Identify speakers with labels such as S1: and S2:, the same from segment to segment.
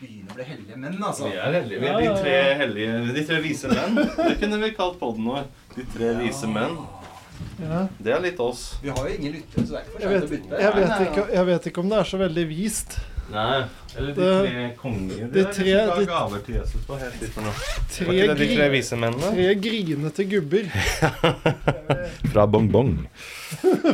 S1: begynner å bli heldige menn, altså.
S2: Vi er heldige. Vi er de tre hellige De tre vise menn. Det kunne vi kalt podden vår. De tre vise menn.
S3: Ja.
S2: Det er litt oss.
S1: Vi har jo ingen lyttere, så det er ikke for sent
S3: Jeg
S1: å
S3: vet,
S1: bytte.
S3: jeg, vet ikke, jeg vet ikke om det er så veldig vist.
S2: Nei. Eller de
S3: Det-
S2: tre konger.
S3: de
S2: Det er
S3: tre-
S2: som ga
S3: de-
S2: gaver til Jesus. Hva het de for noe? Var
S3: Tre,
S2: ikke det de tre
S3: gri,
S2: vise mennene?
S3: tre grinete gubber.
S4: Fra bongbong.
S3: Det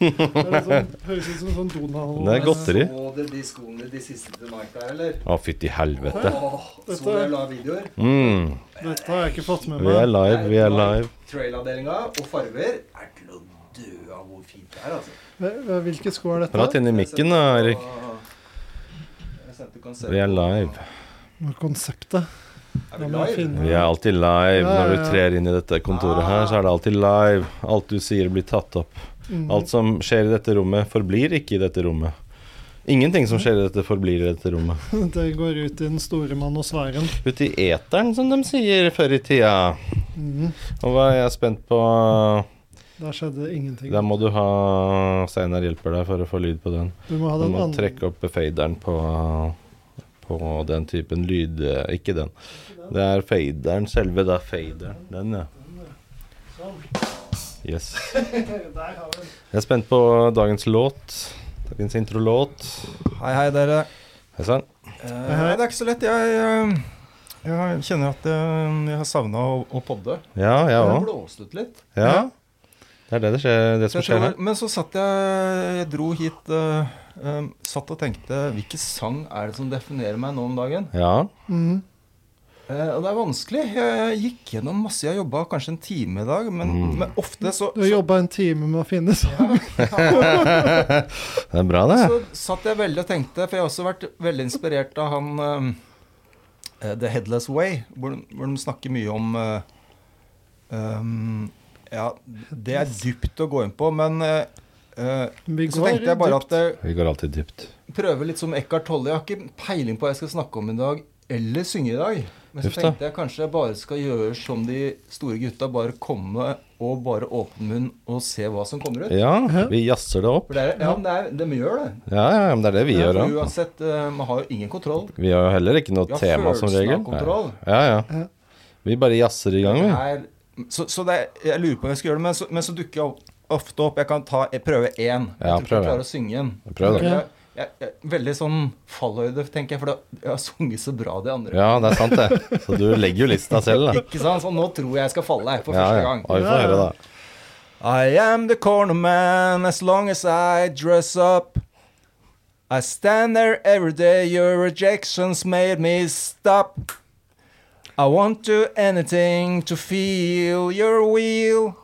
S3: er litt sånn, høres ut som sånn Donald
S4: Det er godteri.
S1: Så dere de skoene de siste til Mike der, eller?
S4: Å, fytti helvete.
S1: Åh, så
S3: Dette-
S1: dere la videoer?
S4: Mm.
S3: Dette har jeg ikke fått med
S4: Vi er
S3: meg.
S4: live, vi er live.
S1: Trailavdelinga og farger er til å dø av hvor fint det er, altså.
S3: Hva- hva- Hvilke sko er
S4: Prat
S3: dette?
S4: inn i mikken da, Erik.
S1: Jeg sendte konsert
S4: Vi er
S1: på-
S4: live.
S3: Hva er Konseptet.
S1: Er
S3: Da
S1: vi
S3: må jeg
S1: live?
S3: finne
S4: Vi er alltid live. Når du trer inn i dette kontoret her, så er det alltid live. Alt du sier, blir tatt opp.
S3: Mm.
S4: Alt som skjer i dette rommet, forblir ikke i dette rommet. Ingenting som skjer i dette, forblir i dette rommet.
S3: Det går ut i den store manosfæren.
S4: Ute i eteren, som de sier før i tida.
S3: Mm.
S4: Og hva er jeg spent på?
S3: Der skjedde ingenting.
S4: Der må du ha Steinar hjelper deg for å få lyd på den.
S3: Du må ha
S4: Du
S3: den
S4: må
S3: andre.
S4: trekke opp faderen på, på den typen lyd eh, Ikke den. Det er faderen, selve da faderen. Den, ja.
S3: Sånn.
S4: Yes.
S3: Der har vi den.
S4: Jeg er spent på dagens låt. Dagens introlåt.
S5: Hei, hei, dere.
S4: Hei sann.
S5: Eh, nei, det er ikke så lett. Jeg, eh, jeg kjenner at jeg, jeg har savna å, å podde.
S4: Ja, jeg
S1: Det
S4: òg.
S1: blåste ut litt.
S4: Ja. Det er det, det, skjer, det
S5: Så
S4: som
S5: jeg
S4: skjer
S5: tror,
S4: her.
S5: men så satt jeg Jeg dro hit eh, eh, Satt og tenkte Hvilken sang er det som definerer meg nå om dagen?
S4: Ja.
S3: Mm.
S5: Eh, og det er vanskelig. Jeg gikk gjennom masse. Jeg jobba kanskje en time i dag, men,
S4: Mm.
S5: men ofte så,
S3: Du har
S5: så,
S3: jobba en time med å finne sånn.
S4: Det er bra, det.
S5: så satt jeg veldig og tenkte, for jeg har også vært veldig inspirert av han eh, The Headless Way, hvor de, hvor de snakker mye om eh, um, Ja, det er dypt å gå inn på, men eh, eh,
S3: Vi
S5: så
S3: går
S5: tenkte jeg bare
S3: dypt.
S5: at eh, jeg
S4: Vi går alltid dypt.
S5: prøver litt som Eckhart Tolle. Jeg har ikke peiling på hva jeg skal snakke om i dag, eller synge i dag. Men så
S4: Uff da.
S5: tenkte jeg kanskje jeg bare skal gjøre som de store gutta. Bare komme og bare åpne munn og se hva som kommer ut.
S4: Ja, vi jazzer det opp.
S5: For det er, ja, men det er, de gjør det.
S4: Ja, ja, men det er det vi gjør
S5: For
S4: òg.
S5: uansett, eh, man har jo ingen kontroll.
S4: Vi har jo heller ikke noe
S5: Vi har
S4: tema som
S5: følelsen av
S4: regel.
S5: kontroll.
S4: Ja, ja. Vi bare jazzer i gang,
S5: Det
S4: vi.
S5: er, så så det er, jeg lurer på om jeg skal gjøre det, men så, men så dukker jeg opp- ofte opp. Jeg kan ta, jeg prøve én. Jeg
S4: Ja,
S5: tror ikke jeg
S4: prøv
S5: klarer å synge en.
S4: Prøv det.
S5: Jeg, jeg, jeg, veldig sånn fallhøyde, tenker jeg, for det, jeg har sunget så bra de andre.
S4: Ja, det er sant, det. Så du legger jo lista selv, da.
S5: Ikke sant? Så nå tror jeg jeg skal falle her for
S4: Ja,
S5: første
S4: ja.
S5: gang.
S4: Ja, vi får høre, da.
S5: I am the corner man as long as I dress up. I stand there every day, your rejections made me stop. I want to anything to feel your will.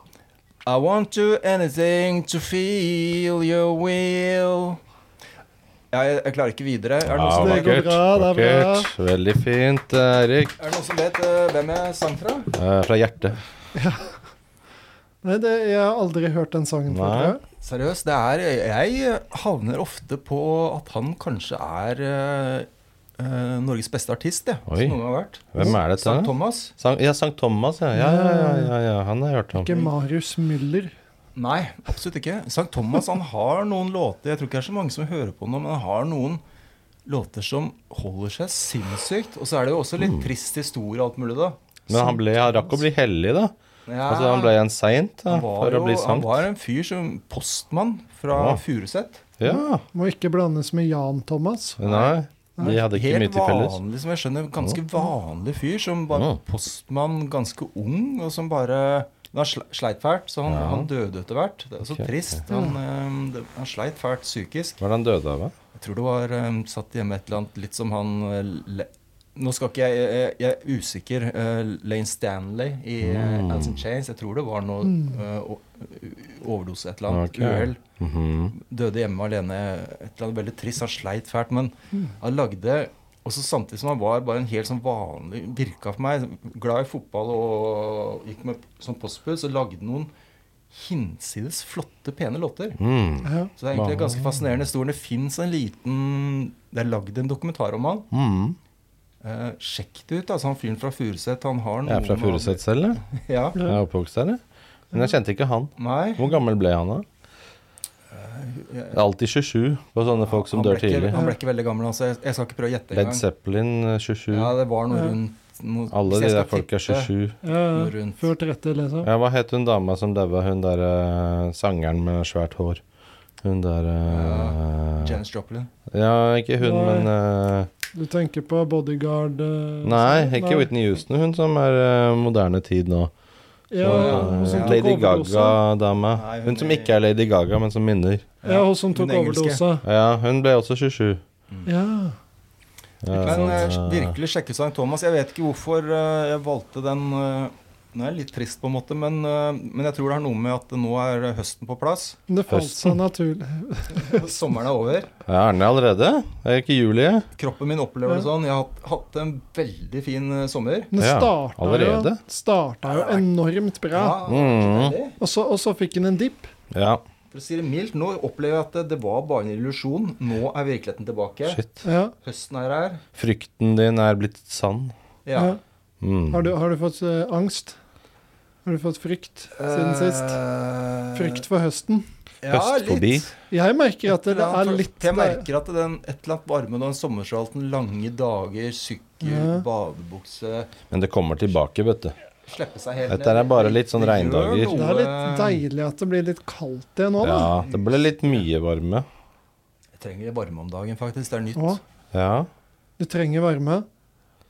S5: I want to anything to feel your will. Jeg, jeg klarer ikke videre. Er det noen
S4: Ja,
S5: som,
S3: det går
S4: vakkert.
S3: bra, det er bra.
S4: vakkert. Veldig fint, Erik.
S5: er det noen som vet eh, hvem jeg sang fra?
S4: Eh, fra hjertet.
S3: Nei, det, jeg har aldri hørt den sangen før.
S4: Nei.
S3: tror jeg.
S5: Seriøst, det er Jeg havner ofte på at han kanskje er eh, eh, Norges beste artist, jeg.
S4: Oi.
S5: Som noen har vært.
S4: Hvem er dette?
S5: Sankt Thomas?
S4: Sankt, ja, Sankt Thomas, ja. Ja, ja, ja, ja, ja. Han har jeg hørt
S3: Ikke
S4: om.
S3: Marius Müller.
S5: Nei, absolutt ikke. Sankt Thomas han har noen låter Jeg tror ikke det er så mange som hører på nå, men han har noen låter som holder seg sinnssykt. Og så er det jo også litt trist historie og alt mulig, da.
S4: Mm. Men han, ble, han rakk å bli hellig, da.
S5: Ja,
S4: Altså, han ble en seint da,
S5: han var
S4: for å
S5: jo
S4: bli
S5: han
S4: sankt.
S5: var en fyr som postmann fra
S4: Ja.
S5: Furuset.
S4: Ja.
S3: Må ikke blandes med Jan Thomas.
S4: Nei, de hadde ikke mye
S5: Helt
S4: til felles.
S5: vanlig, som jeg skjønner, ganske vanlig fyr. Som bare
S4: Ja.
S5: postmann, ganske ung, og som bare men Han sle- sleit fælt, så han, han døde etter hvert. Det er så
S4: Ok.
S5: trist. Han, eh, det, han sleit fælt psykisk.
S4: Hva er det han døde av, da?
S5: Jeg tror det var eh, satt hjemme et eller annet litt som han eh, le, Nå skal ikke jeg Jeg, jeg er usikker. eh, Lane Stanley i mm. Alice in Chains. Jeg tror det var noe eh, o- overdose, et eller annet.
S4: Ok.
S5: Uhell. Døde hjemme alene. Et eller annet veldig trist. Han sleit fælt, men han lagde og så Samtidig som han var bare en helt sånn vanlig Virka for meg glad i fotball og gikk med som postbud, så lagde han noen hinsides flotte, pene låter.
S4: Mm.
S3: Ja.
S5: Så det er egentlig en ganske fascinerende historie. Det fins en liten Det er lagd en dokumentar om han.
S4: Mm.
S5: Eh, sjekk det ut. altså Han fyren fra Furuset, han har noen
S4: Jeg er fra Furuset selv, jeg.
S5: Mm. Ja.
S4: Jeg er oppvokst der, jeg. Men jeg kjente ikke han.
S5: Nei.
S4: Hvor gammel ble han, da?
S5: Ja,
S4: Det er alltid 27 på sånne folk som
S5: han
S4: dør
S5: ble ikke-
S4: tidlig.
S5: Han ble ikke veldig gammel, altså. Jeg, jeg skal ikke prøve å gjette
S4: Led
S5: engang.
S4: Zeppelin eh, 27.
S5: Ja, det var noe
S3: Ja.
S5: rundt noe,
S4: Alle
S5: hvis
S4: de
S5: jeg
S4: der
S5: skal
S4: folk er
S5: tippe
S4: 27.
S3: Ja,
S5: Noe rundt
S3: Før 30, liksom.
S4: Ja, hva het hun dama som daua, hun der eh, sangeren med svært hår? Hun der eh,
S5: Janis Joplin.
S4: Ja, ikke hun,
S3: Nei.
S4: men eh,
S3: Du tenker på bodyguard eh,
S4: Nei,
S3: sånn.
S4: ikke Whitney Houston, hun som er eh, moderne tid nå.
S3: Ja,
S4: Eh,
S3: hun som tok
S4: Lady
S3: overdose.
S4: Gaga-dame.
S5: Nei, hun
S4: Hun som
S5: er-
S4: ikke er Lady Gaga, men som minner.
S3: Ja, hun som
S5: Hun
S3: tok
S5: engelske. Mm.
S3: overdose.
S4: Ja, hun ble også 27.
S3: Ja.
S5: Men
S4: Eh,
S5: eh, virkelig sjekke ut St. Thomas. Jeg vet ikke hvorfor eh, jeg valgte den. eh, Nå er jeg litt trist, på en måte, men, eh, men jeg tror det er noe med at nå er høsten på plass.
S3: Men det falt seg naturlig.
S5: Sommeren er over.
S4: Ja, er den det allerede? Er det ikke juli?
S5: Kroppen min opplever det
S3: Ja.
S5: sånn. Jeg har hatt, hatt en veldig fin eh, sommer.
S3: Men det
S4: Ja,
S3: starta jo,
S4: allerede?
S3: starta jo enormt bra.
S4: Mm.
S5: veldig.
S3: Og, så, og så fikk hun en dipp.
S4: Ja,
S5: For å si det mildt, nå opplever jeg at det, det var bare en illusjon. Nå er virkeligheten tilbake.
S4: shit.
S3: Ja.
S5: Høsten er her.
S4: Frykten din er blitt sann.
S5: Ja.
S3: Ja.
S4: Mm.
S3: Har, du, har du fått eh, angst? Har du fått frykt siden sist?
S5: Eh,
S3: Frykt for høsten?
S5: ja,
S4: Høstfobi.
S5: litt.
S3: Jeg merker at det, det
S5: Ja,
S3: er
S5: for-
S3: litt
S5: Jeg merker at den et eller annet varme og den sommersalten, lange dager, sykkel,
S3: Ja.
S5: badebukse
S4: Men det kommer tilbake, vet du.
S5: Slippe seg helt
S4: Dette er
S5: ned.
S4: bare litt sånn
S5: Det gjør
S4: regndager.
S5: noe.
S3: Det er
S5: eh,
S3: litt deilig at det blir litt kaldt igjen nå, da.
S4: Ja, det ble litt mye varme.
S5: Jeg trenger varme om dagen, faktisk. Det er nytt.
S3: Å,
S4: Ja.
S3: du trenger varme.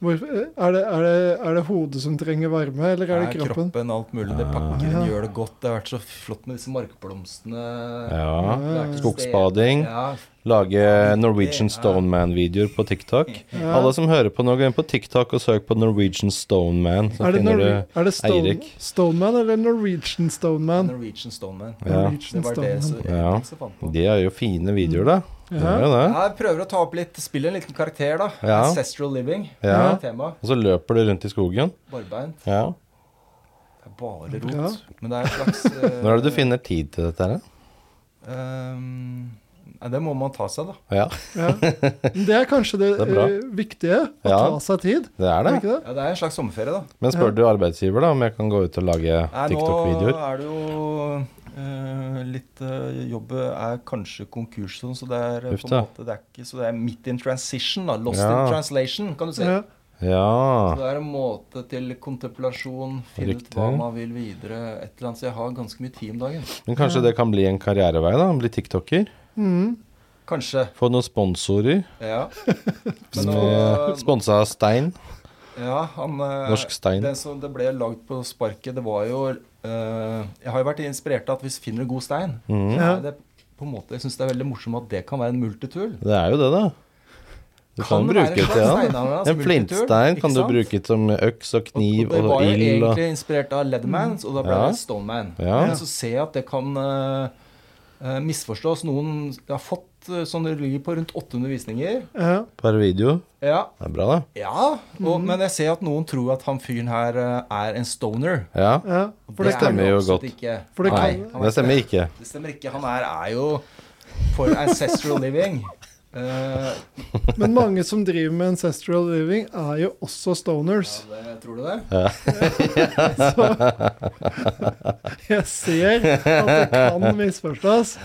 S3: Hvor, eh, er, det, er, det, er det hodet som trenger varme, eller er det kroppen?
S5: alt mulig.
S4: Ah.
S5: Det pakker
S3: Ja.
S5: inn, gjør det godt. Det har vært så flott med disse markblomstene.
S4: ja.
S5: Det er til
S4: Skogsbading.
S5: stede. Ja,
S4: Lage Norwegian
S5: Det er-
S4: Stoneman-videoer på TikTok.
S3: Ja.
S4: Alle som hører på nå, gå inn på TikTok og søk på Norwegian Stoneman. Så
S3: Er det,
S4: finner
S3: Norwe
S4: du
S3: er det Stone
S4: Eirik.
S3: Stoneman eller Norwegian Stoneman?
S5: Norwegian Stoneman.
S4: Ja.
S5: Det
S3: Norwegian
S5: var det som
S3: Stoneman.
S4: Ja.
S5: som fant på.
S4: De er jo fine videoer, da. Det er jo det.
S5: Ja, jeg prøver å ta opp litt Spille en liten karakter, da.
S4: Ja.
S5: Ancestral living.
S4: Ja.
S5: Det er Tema.
S4: Og så løper du rundt i skogen.
S5: Barbeint.
S4: Ja.
S5: Det er bare rot.
S3: Bra.
S5: Men det er et slags eh,
S4: Når er det du finner tid til dette her?
S5: ehm, Nei, det må man ta seg, da.
S4: da? Ja,
S3: Ja. Men Det er kanskje det,
S4: Det er bra.
S3: eh, viktige, å
S4: Ja.
S3: ta seg tid.
S4: det er
S3: Er det
S4: det.
S3: ikke det?
S5: Ja, Det er en slags sommerferie, da.
S4: Men spør du arbeidsgiver da om jeg kan gå ut og lage
S5: Nei, nå
S4: TikTok-videoer?
S5: er det jo eh, litt eh, Jobbet er kanskje konkurs, sånn, så det er eh,
S4: Uff
S5: på en
S4: da.
S5: måte det er ikke, Så det er midt in transition, da. Lost
S4: Ja.
S5: in translation, kan du si.
S3: Ja.
S5: Så
S4: Ja.
S5: det er en måte til kontemplasjon, finne ut
S4: Riktig.
S5: hva man vil videre, et eller annet. Så jeg har ganske mye tid om dagen.
S4: Men kanskje det kan bli en karrierevei? da, Bli TikToker?
S3: Mm.
S5: Kanskje.
S4: Få noen sponsorer?
S5: Ja. Men eh, nå,
S4: Med- Sponsa av Stein?
S5: ja, han, eh,
S4: Norsk stein.
S5: Det som det ble lagd på sparket, det var jo eh, Jeg har jo vært inspirert av at hvis finner du god stein
S4: Mhm.
S5: så
S3: Ja.
S5: er det, på en måte, Jeg syns det er veldig morsomt at det kan være en multitool.
S4: Det er jo det, da. Du
S5: Kan
S4: kan,
S5: være
S4: bruke
S5: en
S4: det til
S5: slags
S4: ja.
S5: steinanvendelse,
S4: En flintstein
S5: multitool,
S4: kan
S5: ikke
S4: du
S5: sant?
S4: bruke som øks og
S5: Og-
S4: kniv
S5: og det
S4: og
S5: var jo
S4: ild og
S5: egentlig inspirert av Leathermans, og da ble
S4: Ja.
S5: det Stoneman.
S4: Ja.
S5: Men så ser jeg at det kan eh, eh, misforstås. Noen jeg har fått uh, sånn det ligger på rundt 800 visninger.
S3: Ja.
S4: per video.
S5: Ja,
S4: Det er bra, da.
S5: ja og, men jeg ser at noen tror at han fyren her eh, er en stoner.
S4: Ja.
S3: Ja.
S5: Og
S3: For det,
S5: er
S4: stemmer
S5: han
S4: jo
S5: absolutt
S4: godt.
S5: Ikke.
S3: For det
S4: Nei,
S3: kan-
S4: det stemmer ikke.
S5: Det stemmer ikke. Han her er jo for ancestral living. Eh,
S3: men mange som driver med ancestral living, er jo også stoners.
S5: ja, det, tror du det?
S3: Så jeg ser at det kan misforstås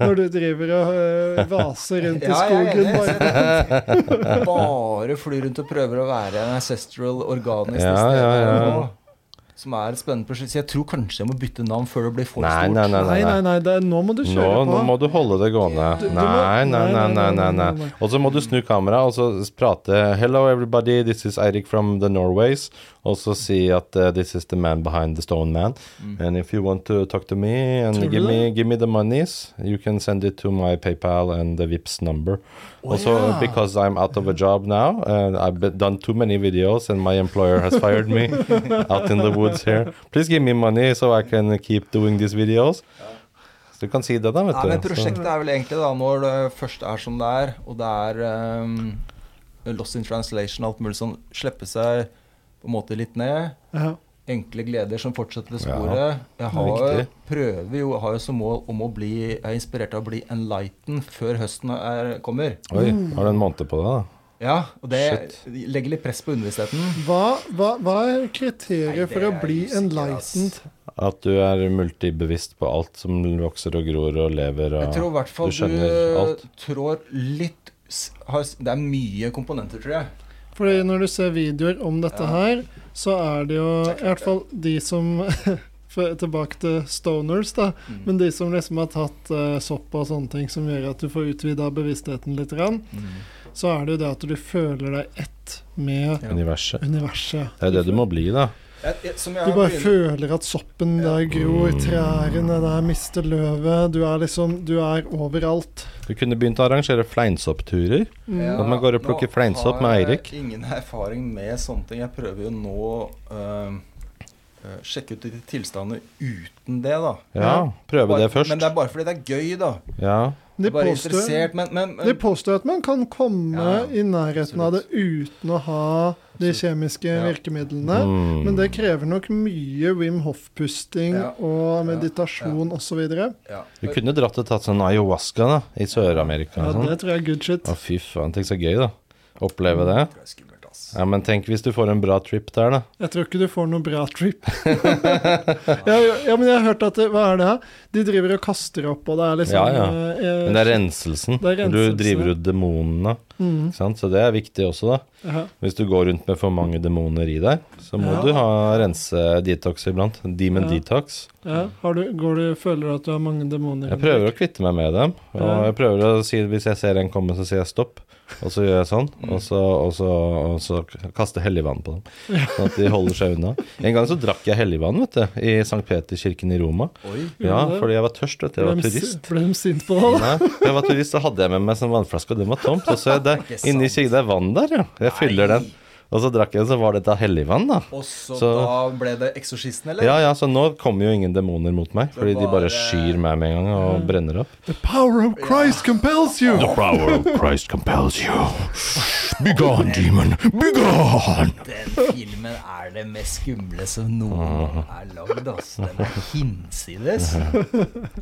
S3: når du driver og eh, vaser rundt i
S5: Ja, jeg er
S3: skogen.
S5: enig.
S3: Bare.
S5: Bare flyr rundt og prøver å være en ancestral organisk
S4: Ja,
S5: neste
S4: ja, ja.
S5: gang nå, Som er et spennende prosjekt. Så jeg tror kanskje jeg må bytte navn før det blir for
S4: Nei,
S5: stort.
S4: nei, nei.
S3: Nei, nei, nei, det er, nå må du
S4: Nå,
S3: kjøre
S4: nå
S3: på.
S4: må du holde det gående.
S5: Du-
S3: du må-
S4: Nei, nei, nei, nei, nei,
S3: nei,
S4: nei.
S3: nei.
S4: Og så må du snu kameraet og så s- prate 'Hello everybody, this is Eirik from the Norways'. Og så si at eh, 'This is the man behind the stone man'. And if you want to talk to me and
S3: Mm. Tror du
S4: give me,
S3: det?
S4: give me the monies, you can send it to my PayPal and the Vips number. also,
S5: ja.
S4: because I'm out of a job now, and I've been- done too many videos, and my employer has fired me out in the woods here. Please give me money so I can keep doing these videos. Så du kan si det, da, vet
S5: Nei,
S4: du.
S5: men
S4: Så-
S5: prosjektet er vel egentlig da, når det først er som det er, og det er ehm, Lost in translation, alt mulig sånn, slippe seg på en måte litt ned.
S3: Ja.
S5: Enkle gleder som fortsetter ved
S4: Ja,
S5: sporet. Jeg har,
S4: det er
S5: jo-
S4: viktig.
S5: prøver jo, har jo som mål om å bli Jeg er inspirert av å bli enlightened før høsten er, kommer.
S4: Oi, har du en måned på deg, da?
S5: Ja, og det legger litt press på underbevisstheten.
S3: Hva, hva, hva er
S5: Nei,
S3: kriteriet
S5: det
S3: for å
S5: er
S3: bli
S5: usikker, ass.
S3: enlightened?
S4: At du er multibevisst på alt som vokser og gror og lever og
S5: Jeg tror i hvert fall
S4: du
S5: du,
S4: skjønner alt.
S5: trår litt s- har, s- Det er mye komponenter, tror jeg.
S3: Fordi når du ser videoer om dette
S5: Ja.
S3: her, så er det jo i hvert fall de som for- Tilbake til stoners, da.
S5: Mm.
S3: Men de som liksom har tatt eh, sopp og sånne ting som gjør at du får utvida bevisstheten litt, grann,
S5: Mm.
S3: så er det jo det at du føler deg ett med
S5: Ja.
S4: Universet.
S3: universet.
S4: Det er det du må bli, da.
S5: Jeg, jeg, som jeg
S3: Du
S5: har
S3: bare
S5: begynt-
S3: føler at soppen der gror,
S4: Mm.
S3: trærne der mister løvet. Du er liksom Du er overalt.
S4: Du kunne begynt å arrangere fleinsoppturer.
S5: Ja,
S4: At man går og plukker
S5: nå
S4: fleinsopp med Eirik.
S5: Har jeg ingen erfaring med sånne ting. Jeg prøver jo nå å sjekke ut de tilstandene uten det, da.
S4: Ja, prøve
S5: Bare-
S4: det først.
S5: Men det er bare fordi det er gøy, da.
S4: Ja.
S3: De
S5: Jeg er bare
S3: påstår,
S5: interessert, men, men,
S3: de påstår at man kan komme
S5: Ja,
S3: i nærheten av det uten å ha de
S5: Absolutt.
S3: kjemiske
S5: Ja.
S3: virkemidlene.
S4: Mm.
S3: Men det krever nok mye Wim Hof-pusting
S5: Ja.
S3: og meditasjon osv.
S5: ja.
S4: Du kunne dratt og tatt sånn ayahuasca da, i Sør-Amerika.
S3: Ja,
S4: og sånn.
S3: det tror jeg er good shit.
S4: Å, fy faen. Tenk så gøy, da. Oppleve det.
S5: Det er skummelt, ass.
S4: Ja, Men tenk hvis du får en bra trip der, da.
S3: Jeg tror ikke du får noe bra trip. ja, ja, ja, men jeg har hørt at det, Hva er det her? De driver og kaster opp, og det er liksom
S4: Ja, ja.
S3: eh,
S4: Men det er renselsen.
S3: Det er
S4: Du
S3: renselsen.
S4: driver ut demonene.
S3: Mhm,
S4: Ikke sant? Så det er viktig også, da.
S3: ja.
S4: Hvis du går rundt med for mange demoner i deg, så må
S3: Ja.
S4: du ha rense detox iblant. Demon
S3: Ja.
S4: detox.
S3: Ja, har du, går du, føler du at du har mange demoner?
S4: Jeg prøver å kvitte meg med dem. Og
S3: Ja.
S4: jeg prøver å si hvis jeg ser en komme, så sier jeg stopp. Og så gjør jeg sånn, og så, og så, og så kaster jeg helligvann på dem. Sånn at de holder seg unna. En gang så drakk jeg helligvann vet du, i St. Peterkirken i Roma.
S5: Oi.
S4: Ja,
S3: Gjorde du det?
S4: fordi jeg var tørst. Vet du. Jeg
S3: Ble
S4: var
S3: de si-
S4: turist.
S3: Ble de sint på deg, da?
S4: Nei, jeg var turist, så hadde jeg med meg sånn vannflaske, og den var tomt. Og så er det
S5: Ikke
S4: inni
S5: sant.
S4: kirken, det er vann der, ja. Jeg fyller den. Og så drakk jeg, så var det da helligvann, da.
S5: Og så,
S4: Så-
S5: da ble det Eksorsisten, eller?
S4: Ja, ja, så nå kommer jo ingen demoner mot meg, fordi de
S5: bare- Mm.
S4: bare skyr meg med en gang og brenner opp.
S3: The power of Christ compels you!
S4: power of Christ compels you. Be gone, demon. Be gone.
S5: Den filmen er det mest skumle som noen er lagd, ass. Den er hinsides.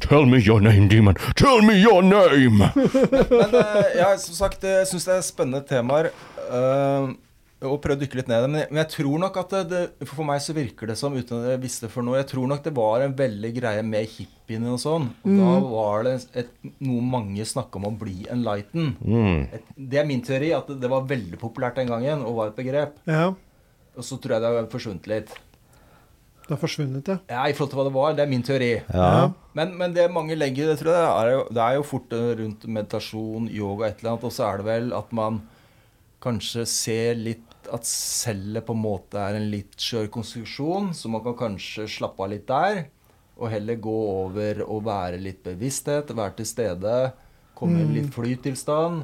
S4: Tell me your name, demon. Tell me your name.
S5: Men eh, ja, som sagt, jeg syns det er spennende temaer. eh, og prøvd å dykke litt ned i det. Men jeg- men jeg tror nok at det, det For meg så virker det som, uten at jeg visste for noe Jeg tror nok det var en veldig greie med hippiene og sånn. Og da var det et, noe mange snakka om å bli enlightened.
S4: Mm.
S5: Et, det er min teori, at det, det var veldig populært den gangen og var et begrep.
S3: Ja,
S5: Og så tror jeg det har forsvunnet litt.
S3: det har forsvunnet, ja.
S5: Ja, I forhold til hva det var, det er min teori.
S4: Ja.
S5: Men, men det mange legger i det, tror jeg, er jo, det er jo fort eh, rundt meditasjon, yoga, et eller annet. Og så er det vel at man kanskje ser litt at cellet på en måte er en litt skjør konstruksjon, så man kan kanskje slappe av litt der. Og heller gå over og være litt bevissthet, være til stede, komme i en litt flytilstand.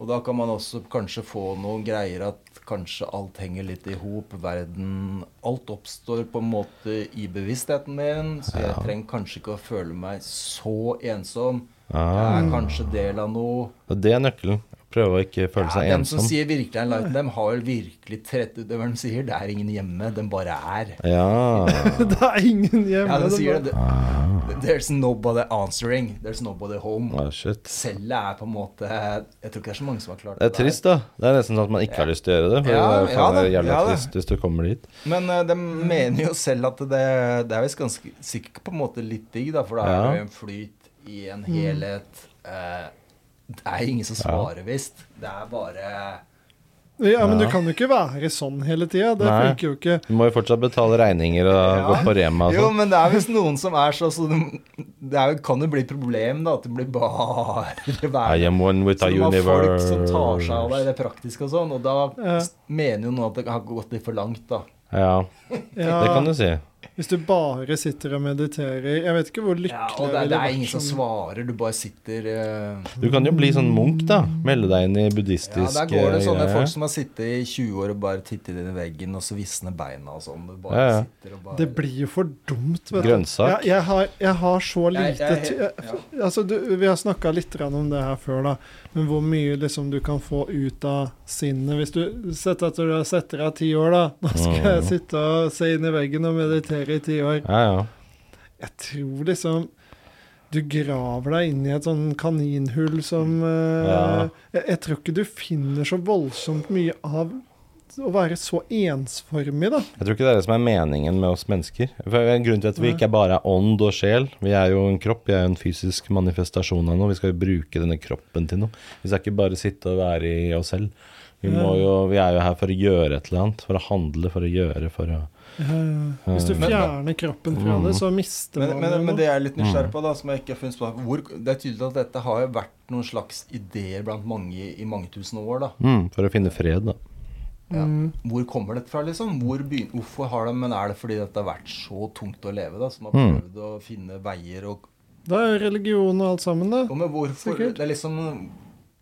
S5: Og da kan man også kanskje få noen greier at kanskje alt henger litt i hop. Verden Alt oppstår på en måte i bevisstheten min, så jeg trenger kanskje ikke å føle meg så ensom. Jeg er kanskje del av noe.
S4: Og det er nøkkelen. Prøve å ikke føle seg
S5: Ja, dem som
S4: ensom.
S5: sier virkelig enlightened, dem har vel virkelig trett ut det hva de sier. Det er ingen hjemme, den bare er.
S4: Ja.
S3: Det er ingen hjemme.
S5: Ja, de
S3: det
S5: sier
S3: bare-
S5: det. There's nobody answering. There's nobody home.
S4: Ah, shit.
S5: Cellet er på en måte Jeg tror ikke det er så mange som har klart
S4: Det er trist, da. Det er nesten sånn at man ikke har lyst til å gjøre det. For
S5: Ja,
S4: det er jo faen
S5: ja da,
S4: meg jævla
S5: ja da.
S4: trist hvis du kommer dit.
S5: Men eh, de mener jo selv at det, det er visst ganske sikkert på en måte litt digg, da, for da
S4: Ja.
S5: er det jo en flyt i en helhet. Eh, det er ingen som svarer, visst. Det er bare
S3: Ja, men du kan jo ikke være sånn hele tida. Det
S4: Nei.
S3: funker jo ikke.
S4: Du må jo fortsatt betale regninger og
S5: Ja.
S4: gå på Rema og
S5: Jo,
S4: sånn.
S5: men det er visst noen som er så, så de, Det er, jo- kan jo bli et problem, da, at det blir bare
S4: I
S5: være
S4: am one with
S5: Så
S4: the
S5: du har folk
S4: universe.
S5: som tar seg av deg i det praktiske og sånn, og da
S3: Ja.
S5: mener jo noen at det har gått litt for langt, da.
S4: Ja, det kan
S3: Ja,
S4: du si.
S3: hvis du bare sitter og mediterer Jeg vet ikke hvor lykkelig
S5: Ja,
S3: jeg
S5: og
S3: ville
S5: det, det er
S3: vært sånn.
S5: ingen som
S3: som-
S5: svarer, du bare sitter eh,
S4: Du kan jo bli sånn munk, da. Melde deg inn i
S5: Ja,
S4: buddhistisk
S5: der går det sånne
S4: eh,
S5: folk som har sittet i 20 år og bare tittet inn i veggen, og så visner beina og sånn. Du bare
S4: Ja, ja.
S5: sitter og bare
S3: Det blir jo for dumt, vet du.
S4: Grønnsak.
S3: Jeg, jeg, har, jeg har så
S5: Jeg-
S3: lite
S5: jeg-
S3: ty-
S5: ja.
S3: Altså, du, Vi har snakka litt grann om det her før, da. Men hvor mye liksom du kan få ut av sinnet hvis du Sett at du har sett deg av ti år, da. Nå skal jeg sitte og se inn i veggen og meditere i ti år.
S4: Ja, ja.
S3: Jeg tror liksom du graver deg inn i et
S5: Mm.
S3: sånn kaninhull som eh,
S4: Ja.
S3: jeg, jeg tror ikke du finner så voldsomt mye av å være så ensformig, da.
S4: Jeg tror ikke det er det som er meningen med oss mennesker. For det er en grunn til at vi
S3: Nei.
S4: ikke bare er ånd og sjel. Vi er jo en kropp, vi er jo en fysisk manifestasjon av noe. Vi skal jo bruke denne kroppen til noe. Vi skal ikke bare sitte og være i oss selv. Vi, må jo, vi er jo her for å gjøre et eller annet. For å handle, for å gjøre, for å
S3: Eh, Hvis du
S4: Men-
S3: fjerner kroppen fra det, så mister
S5: Mm. Men,
S3: man
S5: men,
S3: jo
S5: men
S3: noe.
S5: det jeg er litt nysgjerrig på, da, som jeg ikke har funnet svar på hvor, Det er tydelig at dette har jo vært noen slags ideer blant mange i mange tusen år. da.
S4: mm, For å finne fred, da.
S5: Ja.
S3: Mm.
S5: Hvor kommer dette fra, liksom? Hvor begyn- hvorfor har de Men er det fordi dette har vært så tungt å leve, da? Som har
S4: Mm.
S5: prøvd å finne veier og
S3: Det er jo religion og alt sammen, det.
S5: Jo, men hvorfor?
S3: Sikkert.
S5: Det er liksom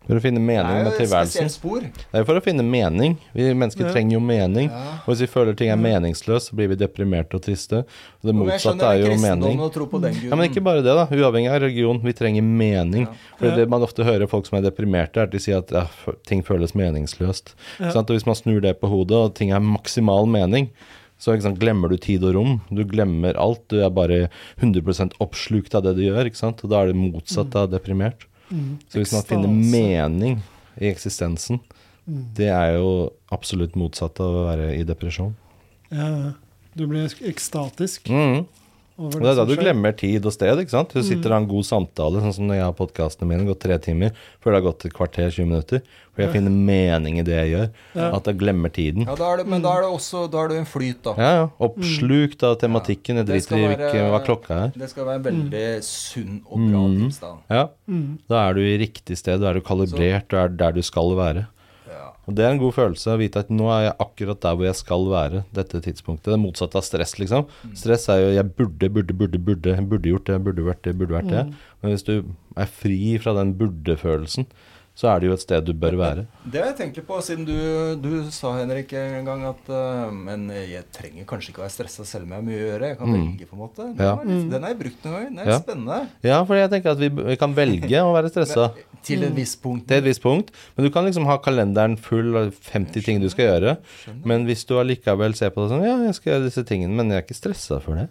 S4: For å finne
S5: Det er
S4: mening
S5: jo
S4: med
S5: et
S4: tilværelsen.
S5: spesielt spor.
S4: Det er jo for å finne mening. Vi mennesker
S3: Ja.
S4: trenger jo mening.
S5: Ja.
S4: Og hvis vi føler ting er meningsløst, så blir vi deprimerte og triste. Og det
S5: Men jeg
S4: motsatte
S5: skjønner
S4: er jo
S5: kristendommen
S4: mening.
S5: og tro på den guden.
S4: Ja, men ikke bare det, da. Uavhengig av religion. Vi trenger mening.
S5: Ja.
S4: For
S3: Ja.
S4: det man ofte hører folk som er deprimerte, er at de sier at ja, f- ting føles meningsløst.
S3: Ja.
S4: Sant? Og hvis man snur det på hodet, og ting er maksimal mening, så ikke sant, glemmer du tid og rom. Du glemmer alt. Du er bare 100 oppslukt av det du gjør. ikke sant? Og da er det motsatt av deprimert.
S3: Mm.
S4: Så hvis man
S3: Ekstase.
S4: finner mening i eksistensen,
S3: Mm.
S4: det er jo absolutt motsatt av å være i depresjon.
S3: Ja, du blir ekstatisk.
S4: Mm.
S3: Over
S4: Og det er da
S3: som
S4: du
S3: skjer. Mm.
S4: glemmer tid og sted, ikke sant? Du sitter og har en god samtale, sånn som når jeg har podkastene mine, gått tre timer, før det har gått et kvarter, 20 minutter. For jeg finner mening i det jeg gjør.
S3: Ja.
S4: At jeg glemmer tiden.
S5: Ja, da er det, men da er det også Da er det jo en flyt, da.
S4: Ja, ja. Oppslukt av tematikken. Jeg
S5: Det skal
S4: driter i
S5: være-
S4: hvilken- hva klokka er.
S5: Det skal være en veldig sunn og bra
S4: Mm.
S5: tilstand.
S4: Ja.
S3: Mm.
S4: Da er du i riktig sted, da er du kalibrert, du er der du skal være.
S5: Ja.
S4: Og Det er en god følelse å vite at nå er jeg akkurat der hvor jeg skal være. dette tidspunktet. Det er motsatt av stress, liksom.
S5: Mm.
S4: Stress er jo 'jeg burde, burde, burde, burde jeg burde gjort det, jeg burde vært det, jeg burde vært det'.
S5: Mm.
S4: Men hvis du er fri fra den burde-følelsen, så er det jo et sted du bør være.
S5: Det jeg tenker på, siden du, du sa, Henrik, en gang at eh, Men jeg trenger kanskje ikke å være stressa selv om jeg har mye å gjøre. Jeg kan
S4: Mm.
S5: velge, på en måte. Den,
S4: Ja.
S5: var litt, den har jeg brukt noen ganger. Den er
S4: Ja.
S5: spennende.
S4: Ja, for jeg tenker at vi, b- vi kan velge å være stressa.
S5: Men, til et visst punkt.
S4: til et visst punkt. Men du kan liksom ha kalenderen full av 50 ting du skal gjøre. Men hvis du allikevel ser på det sånn Ja, jeg skal gjøre disse tingene, men jeg er ikke stressa for det.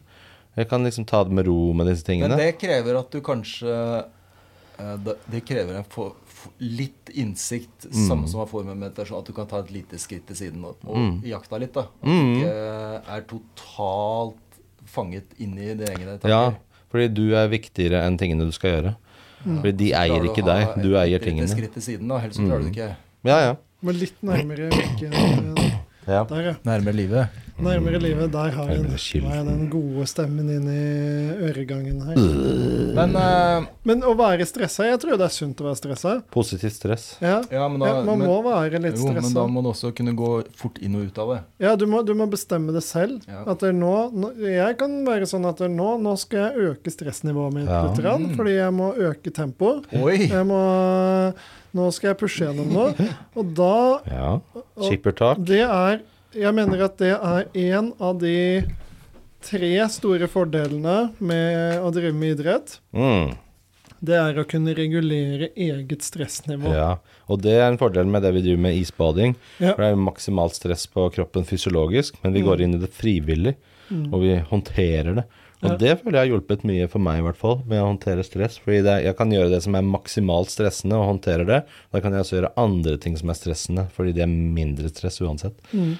S4: Jeg kan liksom ta det med ro med disse
S5: Men
S4: tingene.
S5: det krever at du kanskje eh, da- Det krever en få- få- litt innsikt,
S4: Mm.
S5: samme som man får med meditasjon, at du kan ta et lite skritt til siden og, og
S4: Mm.
S5: jakta litt. da. At du ikke eh, er totalt fanget inn i dine egne tanker.
S4: Ja, fordi du er viktigere enn tingene du skal gjøre. Fordi de eier ikke deg, du eier
S5: Et
S4: tingene. Mm.
S5: skritt til siden, da, ellers så klarer du det ikke.
S4: Ja, ja.
S3: Men litt nærmere hvilken eh,
S4: ja.
S3: Der, ja.
S5: Nærmere livet.
S3: Nærmere livet. Der har jeg,
S4: Nærmere
S3: den,
S4: kilden.
S3: har jeg den gode stemmen inn i øregangen her.
S5: Men, eh,
S3: Men å være stressa Jeg tror det er sunt å være stressa.
S4: Positivt stress.
S3: Ja.
S5: ja, men da,
S3: ja, man
S5: men,
S3: må være litt
S5: jo, men da
S3: stressa.
S5: må du også kunne gå fort inn og ut av det.
S3: Ja, du må, du må bestemme det selv.
S5: Ja.
S3: At det er nå, nå Jeg kan være sånn at det er nå, nå skal jeg øke stressnivået mitt
S4: Ja. Mm.
S3: litt, grann, fordi jeg må øke tempoet.
S5: Oi!
S3: Jeg må Nå skal jeg pushe gjennom noe. Og da
S4: Ja. Chipper talk.
S3: Det er Jeg mener at det er en av de tre store fordelene med å drive med idrett.
S4: Mm.
S3: Det er å kunne regulere eget stressnivå.
S4: Ja. Og det er en fordel med det vi driver med isbading.
S3: Ja.
S4: For det er jo maksimalt stress på kroppen fysiologisk, men vi går inn i det frivillig,
S3: Mm.
S4: og vi håndterer det. Og
S3: Ja.
S4: det føler jeg har hjulpet mye for meg, i hvert fall, med å håndtere stress. Fordi det, jeg kan gjøre det som er maksimalt stressende, og håndtere det. Da kan jeg også gjøre andre ting som er stressende, fordi det er mindre stress uansett.
S3: Mm.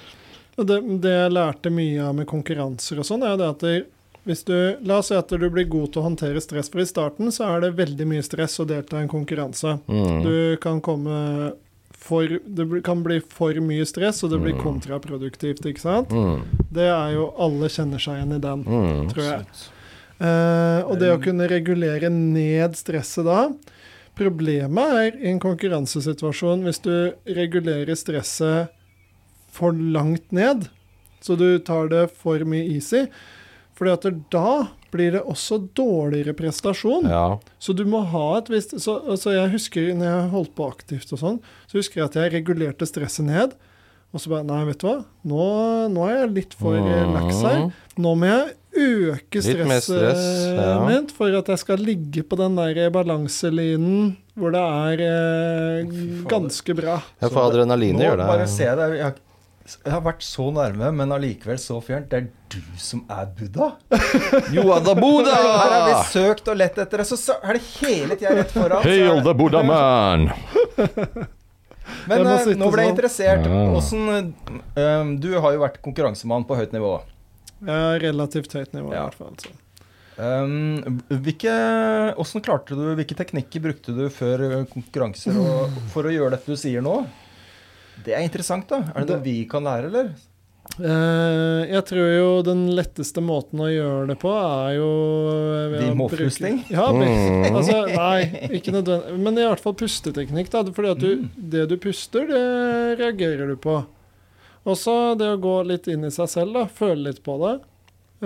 S3: Og det, det jeg lærte mye av med konkurranser og sånn, er jo det at det, hvis du, La oss si at du blir god til å håndtere stress, for i starten så er det veldig mye stress å delta i en konkurranse.
S4: Mm.
S3: Du kan komme for, det blir- kan bli for mye stress, og det blir kontraproduktivt. ikke sant?
S4: Mm.
S3: Det er jo Alle kjenner seg igjen i den.
S4: Mm.
S3: tror jeg. Eh, og det å kunne regulere ned stresset da Problemet er i en konkurransesituasjon hvis du regulerer stresset for langt ned, så du tar det for mye easy. Fordi at da blir det også dårligere prestasjon.
S4: Ja.
S3: Så du må ha et visst så, så jeg husker når jeg holdt på aktivt og sånn, så husker jeg at jeg regulerte stresset ned. Og så bare Nei, vet du hva, nå, nå er jeg litt for
S4: Mm.
S3: eh, lax her. Nå må jeg øke
S4: Litt mer
S3: stresset
S4: stress, ja.
S3: mitt for at jeg skal ligge på den der balanselinen hvor det er eh,
S5: fader.
S3: ganske bra.
S4: Ja, for adrenalinet gjør
S5: Nå bare
S4: det.
S5: ser jeg deg. Jeg, har- jeg har vært så nærme, men allikevel så fjernt. Det er du som er Buddha.
S4: Joa da boda!
S5: Her har vi
S3: Ah!
S5: søkt og lett etter det, så, så er det hele tida rett foran. så er det-
S4: Buddha man!
S5: Men
S3: Jeg må
S5: eh,
S3: sitte
S5: nå ble jeg
S3: sånn.
S5: interessert.
S4: Ja.
S5: Åssen eh, um, Du har jo vært konkurransemann på høyt nivå.
S3: Eh, Relativt høyt nivå, i
S5: Ja.
S3: hvert fall. altså. Så.
S5: Um, hvilke, hvordan klarte du, hvilke teknikker brukte du før eh, konkurranser og, for å gjøre dette du sier nå? Det er interessant, da. Er det noe vi kan lære, eller?
S3: Eh, jeg tror jo den letteste måten å gjøre det på, er jo ved
S5: Din
S3: å bruke-
S5: målpusting?
S3: Ja,
S4: Mm.
S3: altså, nei, ikke nødvendig. Men i hvert fall pusteteknikk, da. Fordi at du, det du puster, det reagerer du på. Også det å gå litt inn i seg selv, da. Føle litt på det.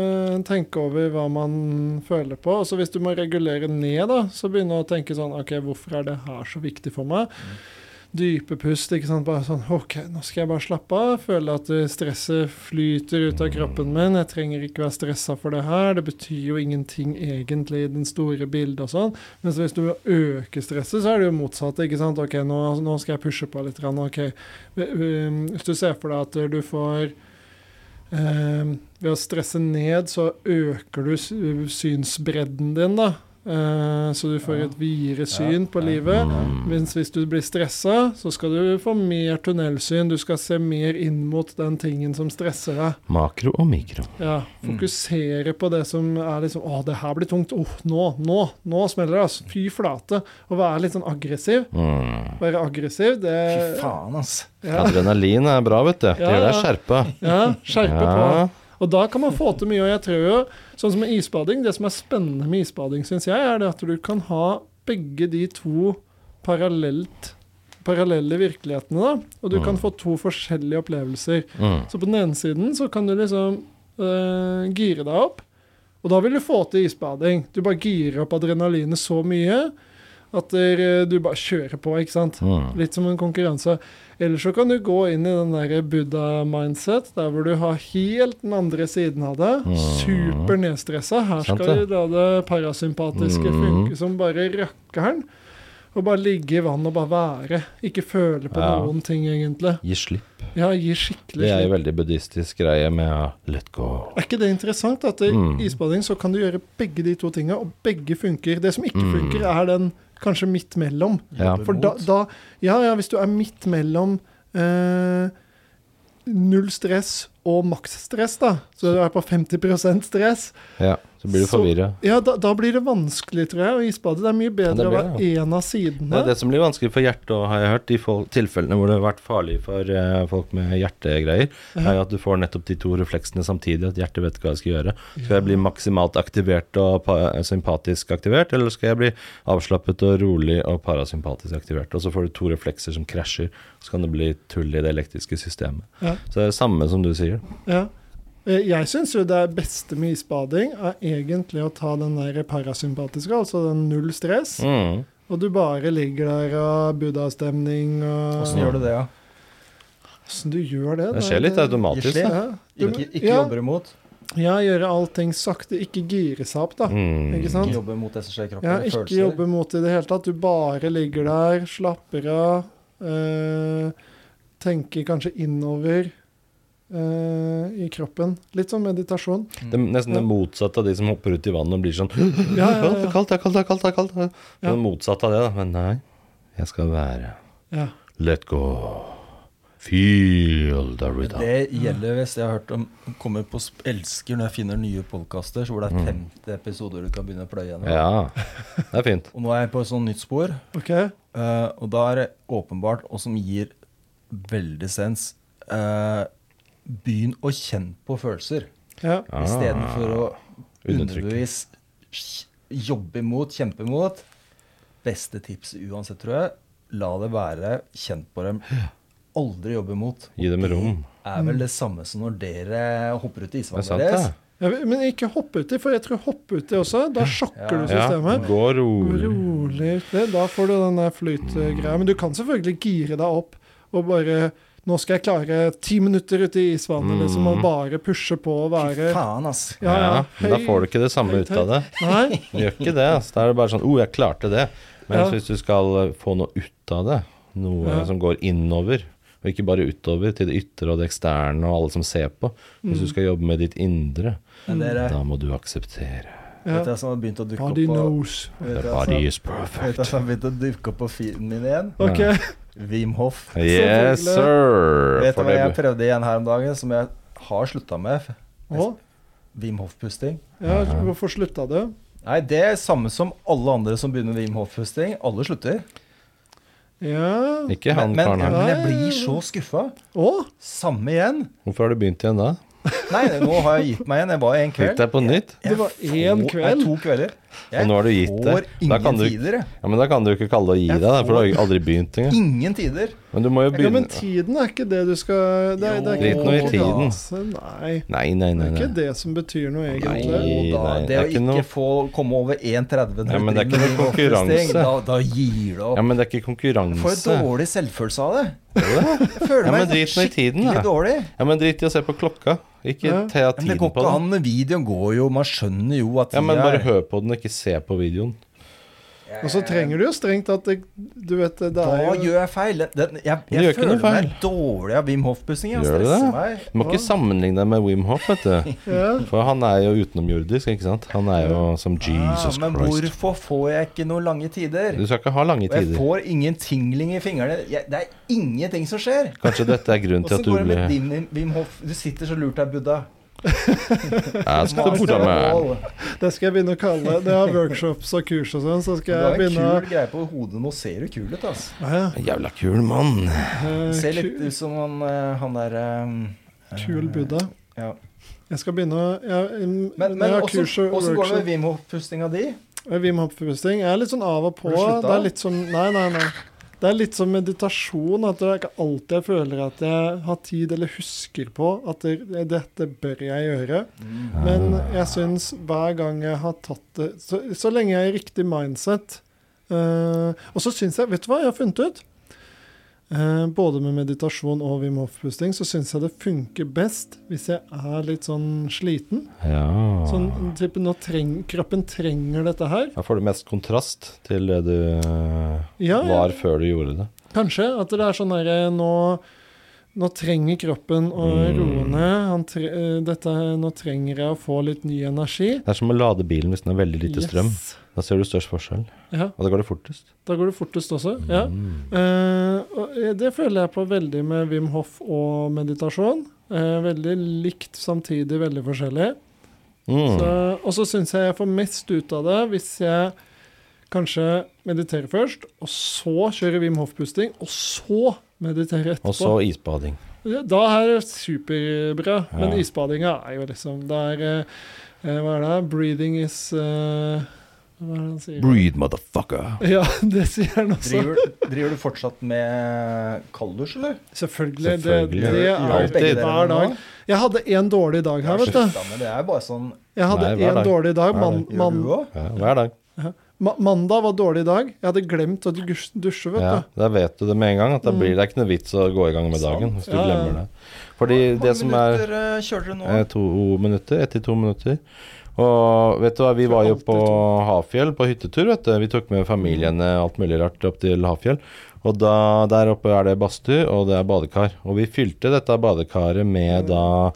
S3: Eh, tenke over hva man føler på. Og så hvis du må regulere ned, da, så begynne å tenke sånn OK, hvorfor er det her så viktig for meg? Dype pust. ikke sant, bare sånn OK, nå skal jeg bare slappe av. Føle at eh, stresset flyter ut av kroppen min. Jeg trenger ikke være stressa for det her. Det betyr jo ingenting egentlig i den store bildet og sånn. Mens hvis du øker stresset, så er det jo motsatt. ikke sant? Ok, nå, nå skal jeg pushe på litt. grann, ok. Um, Hvis du ser for deg at du får um, Ved å stresse ned, så øker du sy- synsbredden din, da. Eh, så du får et videre syn på livet.
S4: Mm.
S3: Mens hvis du blir stressa, så skal du få mer tunnelsyn. Du skal se mer inn mot den tingen som stresser deg.
S4: Makro og mikro.
S3: Ja,
S5: Mm.
S3: fokusere på det som er liksom Å, det her blir tungt. Åh, nå, nå, nå smeller det, altså. Fy flate. Å være litt sånn aggressiv.
S4: Mm.
S3: Være aggressiv, det
S5: Fy faen, ass.
S3: Ja,
S4: Adrenalin er bra, vet du. Det gjør deg skjerpa.
S3: ja skjerpe
S4: Ja.
S3: på. Og da kan man få til mye. Og jeg tror jo, sånn som med isbading, det som er spennende med isbading, syns jeg, er det at du kan ha begge de to parallelt parallelle virkelighetene, da. Og du
S5: Mm.
S3: kan få to forskjellige opplevelser.
S4: Mm.
S3: Så på den ene siden så kan du liksom øh, gire deg opp, og da vil du få til isbading. Du bare girer opp adrenalinet så mye at øh, du bare kjører på, ikke sant.
S4: Mm.
S3: Litt som en konkurranse. Eller så kan du gå inn i den der Buddha-mindset, der hvor du har helt den andre siden av deg. Super nedstressa. Her
S4: Ah. Sant
S3: skal
S4: det. Mm.
S3: du la det parasympatiske funke som bare rakkeren. Og bare ligge i vann og bare være. Ikke føle på
S4: Ja.
S3: noen ting, egentlig.
S4: Gi slipp.
S3: Ja, gi skikkelig
S4: Det er
S3: slipp.
S4: jo veldig buddhistisk greie med å let go.
S3: Er ikke det interessant? At i
S4: Mm.
S3: isbading så kan du gjøre begge de to tinga, og begge funker. Det som ikke
S4: Mm.
S3: funker, er den kanskje midt mellom.
S4: Ja.
S3: For da, da Ja, ja, hvis du er midt mellom eh, null stress og maksstress, da, så du er på 50 stress,
S4: ja. Så blir du
S3: Så-
S4: forvirra.
S3: ja, da, da blir det vanskelig, tror jeg, å isbade. Det er mye bedre
S4: Ja, det
S3: å
S4: blir
S3: være én av sidene.
S4: Det er det som blir vanskelig for hjertet, og har jeg hørt, i fol- tilfellene hvor det har vært farlig for eh, folk med hjertegreier, er jo at du får nettopp de to refleksene samtidig, at hjertet vet hva jeg skal gjøre. Skal jeg bli maksimalt aktivert og pa- sympatisk aktivert, eller skal jeg bli avslappet og rolig og parasympatisk aktivert? Og så får du to reflekser som krasjer, så kan det bli tull i det elektriske systemet.
S3: Ja.
S4: Så det er det samme som du sier.
S3: Ja. Eh, Jeg syns jo det beste med isbading er egentlig å ta den der parasympatiske, altså den null stress,
S4: Mm.
S3: og du bare ligger der og buddha-stemning og
S5: Åssen gjør du det, da?
S3: Åssen du gjør det?
S4: Det skjer litt automatisk.
S5: Gisle?
S4: da.
S3: Ja, du,
S5: Ikke, ikke
S3: ja,
S5: jobber imot.
S3: ja, gjøre allting sakte, ikke gire seg opp, da.
S4: Mm.
S3: Ikke
S5: Ikke
S3: sant?
S5: jobber mot det som skjer i kroppen.
S3: Ja,
S5: eller
S3: ikke
S5: følelser.
S3: jobbe mot det i det hele tatt. Du bare ligger der, slapper av, eh, tenker kanskje innover eh, i kroppen. Litt sånn meditasjon.
S4: Det er nesten det motsatte av de som hopper ut i vannet og blir sånn «Å,
S3: Ja, ja,
S4: Det er
S3: ja.
S4: kaldt, det er kaldt, det er kaldt. Det er kaldt. Det
S3: Ja.
S4: er motsatt av det, da. Men nei, jeg skal være
S3: ja.
S4: Let go. Feel the rhythm.
S5: Det gjelder hvis jeg har hørt om kommer på sp- Elsker når jeg finner nye podkaster hvor det er 50 episoder du kan begynne å pløye gjennom.
S4: Ja, det er fint.
S5: Og nå er jeg på et sånt nytt spor.
S3: Ok.
S5: Eh, og da er det åpenbart, og som gir veldig sens eh, Begynn å kjenne på følelser
S3: Ja.
S4: Ah,
S5: istedenfor å
S4: undertrykke.
S5: underbevis sh- jobbe imot, kjempe imot. Beste tips uansett, tror jeg, la det være. Kjenn på dem. Aldri jobbe imot.
S4: Gi dem rom.
S5: Er vel det samme som når dere hopper ut i
S4: Det er
S5: isvannet
S4: sant,
S5: deres.
S4: det.
S3: Ja, Men ikke hopp uti, for jeg tror hopp uti også, da sjokker du
S4: Ja,
S3: systemet.
S4: gå rolig.
S3: Rolig uti. Da får du den der flytgreia. Men du kan selvfølgelig gire deg opp og bare Nå skal jeg klare ti minutter ute i isvannet,
S4: Mm.
S3: liksom, og bare pushe på og
S5: Fy
S3: være
S5: faen, ass.
S3: Ja, ja.
S4: Ja, men da
S3: høy-
S4: får du ikke det samme
S3: høy-
S4: ut av det.
S3: Nei.
S4: Du gjør ikke det. Altså. Da er det bare sånn 'Å, jeg klarte det'. Men
S3: Ja.
S4: hvis du skal eh, få noe ut av det, noe
S3: Ja.
S4: som går innover, og ikke bare utover til det ytre og det eksterne og alle som ser på Hvis
S3: Mm.
S4: du skal jobbe med ditt indre,
S5: Men dere,
S4: da må du akseptere.
S5: vet
S3: Ja.
S5: dere som har begynt å dukke opp
S3: Body
S5: på
S3: knows.
S5: vet
S4: The
S5: dere som-
S3: altså-
S4: body is
S5: vet
S4: perfect.
S5: dere som har begynt å dukke opp på feeden min igjen?
S3: Ok.
S5: Wim Hof.
S4: Yes,
S3: Selvfølgelig.
S4: sir.
S5: Vet du
S4: For
S5: hva jeg
S4: det,
S5: prøvde igjen her om dagen, som jeg har slutta med?
S3: Å?
S5: Wim Hof-pusting.
S3: Ja, hvorfor slutta du?
S5: Nei, det er samme som alle andre som begynner med Wim Hof-pusting. Alle slutter.
S3: Ja
S4: ikke han
S5: men, men,
S4: karen her.
S5: men jeg blir så skuffa.
S3: Å?
S5: Samme igjen.
S4: Hvorfor har du begynt igjen da?
S5: Nei, nå har jeg gitt meg igjen. Jeg var en
S4: Gitt
S5: kveld.
S4: deg på nytt?
S3: Det var én
S5: To- Nei,
S3: kveld.
S5: to kvelder.
S4: Og nå har du gitt
S5: får
S4: deg. Da kan
S5: ingen
S4: du-
S5: tider, jeg.
S4: Ja, men da kan du ikke kalle det å gi deg, da, for du har jo aldri begynt engang.
S5: Ingen tider.
S4: Men du må jo
S3: Ja, men
S4: begynne
S3: tiden er ikke det du skal Det, er- det er
S4: Drit nå i tiden.
S3: konkurranse, Nei.
S4: Nei, nei,
S3: Det
S4: nei.
S3: er
S4: nei.
S3: ikke det som betyr noe, egentlig.
S5: Jo da, det
S4: nei,
S5: å
S4: det er
S5: ikke
S4: ikke noe-
S5: få komme over 1,30
S4: Ja, men det er ikke noe
S5: når du driver med
S4: konkurranse.
S5: Da, da gir det opp.
S4: Ja, men det er ikke
S5: jeg får
S4: konkurranse.
S5: jo dårlig selvfølelse av det.
S4: Ja,
S5: Jeg føler
S4: Ja, men
S5: meg sånn
S4: drit nå i tiden,
S5: skikkelig
S4: da.
S5: dårlig.
S4: men drit i å se på klokka. Ikke
S3: Ja.
S4: ta
S5: Ja, Men det
S4: tiden
S5: går
S4: på
S5: ikke
S4: den.
S5: an. Videoen går jo, man skjønner jo at
S4: Ja,
S5: tida
S4: men bare
S5: er-
S4: hør på den, og ikke se på videoen.
S3: Og så trenger du jo strengt tatt det, Du vet, det
S5: Hva
S3: er jo
S5: gjør jeg feil? Den, jeg
S4: Du
S5: jeg
S4: gjør ikke noe
S5: føler meg
S4: feil.
S5: dårlig av Wim Hof-pussing. Jeg
S4: Gjør du
S5: stresser
S4: det?
S5: meg.
S4: Du må ikke sammenligne deg med Wim Hof, vet du.
S3: ja.
S4: For han er jo utenomjordisk, ikke sant? Han er jo som Jesus
S5: ah, men
S4: Christ.
S5: hvorfor får jeg ikke noen lange tider?
S4: Du skal ikke ha lange
S5: Og jeg
S4: tider.
S5: får ingen tingling i fingrene. Jeg, det er ingenting som skjer.
S4: Kanskje dette er grunnen til
S5: Åssen
S4: at du
S5: går det med
S4: blir
S5: din Wim Hof? Du sitter så lurt der, Buddha.
S4: Jeg skal til Buddha-man.
S3: Det skal jeg begynne å kalle det. har workshops og kurs og sånn, så
S5: Du
S3: skal
S5: har
S3: jeg
S5: en
S3: begynne
S5: kul greie på hodet. Nå ser du kul ut, ass.
S3: å ja,
S4: Jævla kul mann.
S3: eh,
S5: Ser litt
S3: ku-
S5: ut som han, eh, han der eh,
S3: Kul Buddha.
S5: Ja.
S3: Jeg skal begynne å ja, mm,
S5: Men,
S3: når
S5: men
S3: jeg har
S5: åssen
S3: kurs og
S5: åssen går det med
S3: workshop.
S5: Wim Hof-pustinga di?
S3: Eh, Wim Hof-pusting. Jeg er litt sånn av og på.
S5: Har du sluttet?
S3: Det er litt som Nei, nei, nei. Det er litt som meditasjon. At det er ikke alltid jeg føler at jeg har tid eller husker på at det, dette bør jeg gjøre. Men
S4: Ah.
S3: jeg syns hver gang jeg har tatt det Så, så lenge jeg er i riktig mindset eh, Og så syns jeg Vet du hva jeg har funnet ut? Eh, både med meditasjon og Wim Hof-pusting så syns jeg det funker best hvis jeg er litt sånn sliten.
S4: Ja.
S3: Sånn type nå treng, Kroppen trenger dette her.
S4: Da får du mest kontrast til det du eh,
S3: Ja, ja.
S4: var før du gjorde det.
S3: Kanskje at det er sånn herre nå, nå trenger kroppen å
S4: Mm.
S3: roe ned. Han tre, eh, dette, nå trenger jeg å få litt ny energi.
S4: Det er som å lade bilen hvis den har veldig lite strøm.
S3: Yes.
S4: Da ser du størst forskjell,
S3: Ja,
S4: og da går det fortest. Mm.
S3: da går det fortest også. Ja. Eh, og eh, det føler jeg på veldig med Wim Hof og meditasjon. Eh, veldig likt, samtidig veldig forskjellig. Så,
S4: Mm.
S3: og så syns jeg jeg får mest ut av det hvis jeg kanskje mediterer først, og så kjører Wim Hof-pusting, og så mediterer etterpå.
S4: Og så isbading.
S3: Ja, Da er det superbra. Men
S4: Ja.
S3: isbadinga er jo liksom Det er eh, Hva er det? Breathing is eh, Hva er det han sier?
S4: Breathe, motherfucker.
S3: Ja, det sier han også.
S5: Driver, driver du fortsatt med kalddusj, eller?
S3: Selvfølgelig. Det,
S4: Selvfølgelig.
S3: det
S5: Gjør
S3: er
S5: du begge
S4: Alltid.
S5: deler
S3: hver dag.
S5: nå?
S3: Jeg hadde én dårlig dag her, vet du.
S5: Slutta med det. Det er bare sånn
S3: Jeg hadde
S4: Nei, hver
S3: én
S4: dag.
S3: dårlig dag.
S4: Hver
S3: Man,
S4: dag.
S5: Gjør
S3: man,
S5: du òg?
S4: Ja, hver dag.
S3: ma mandag var dårlig dag. Jeg hadde glemt å dus- dusje, vet
S4: Ja,
S3: du.
S4: da vet du det med en gang. At da blir det er ikke noe vits å gå i gang med dagen hvis du
S3: Ja, ja.
S4: glemmer det. Fordi det som er
S5: minutter eh, kjører dere nå?
S4: eh, to minutter, ett til to minutter. Og vet du hva, vi var jo på Hafjell på hyttetur, vet du. Vi tok med familien eh, alt mulig rart opp til Hafjell. Og da, der oppe er det badstue, og det er badekar. Og vi fylte dette badekaret med da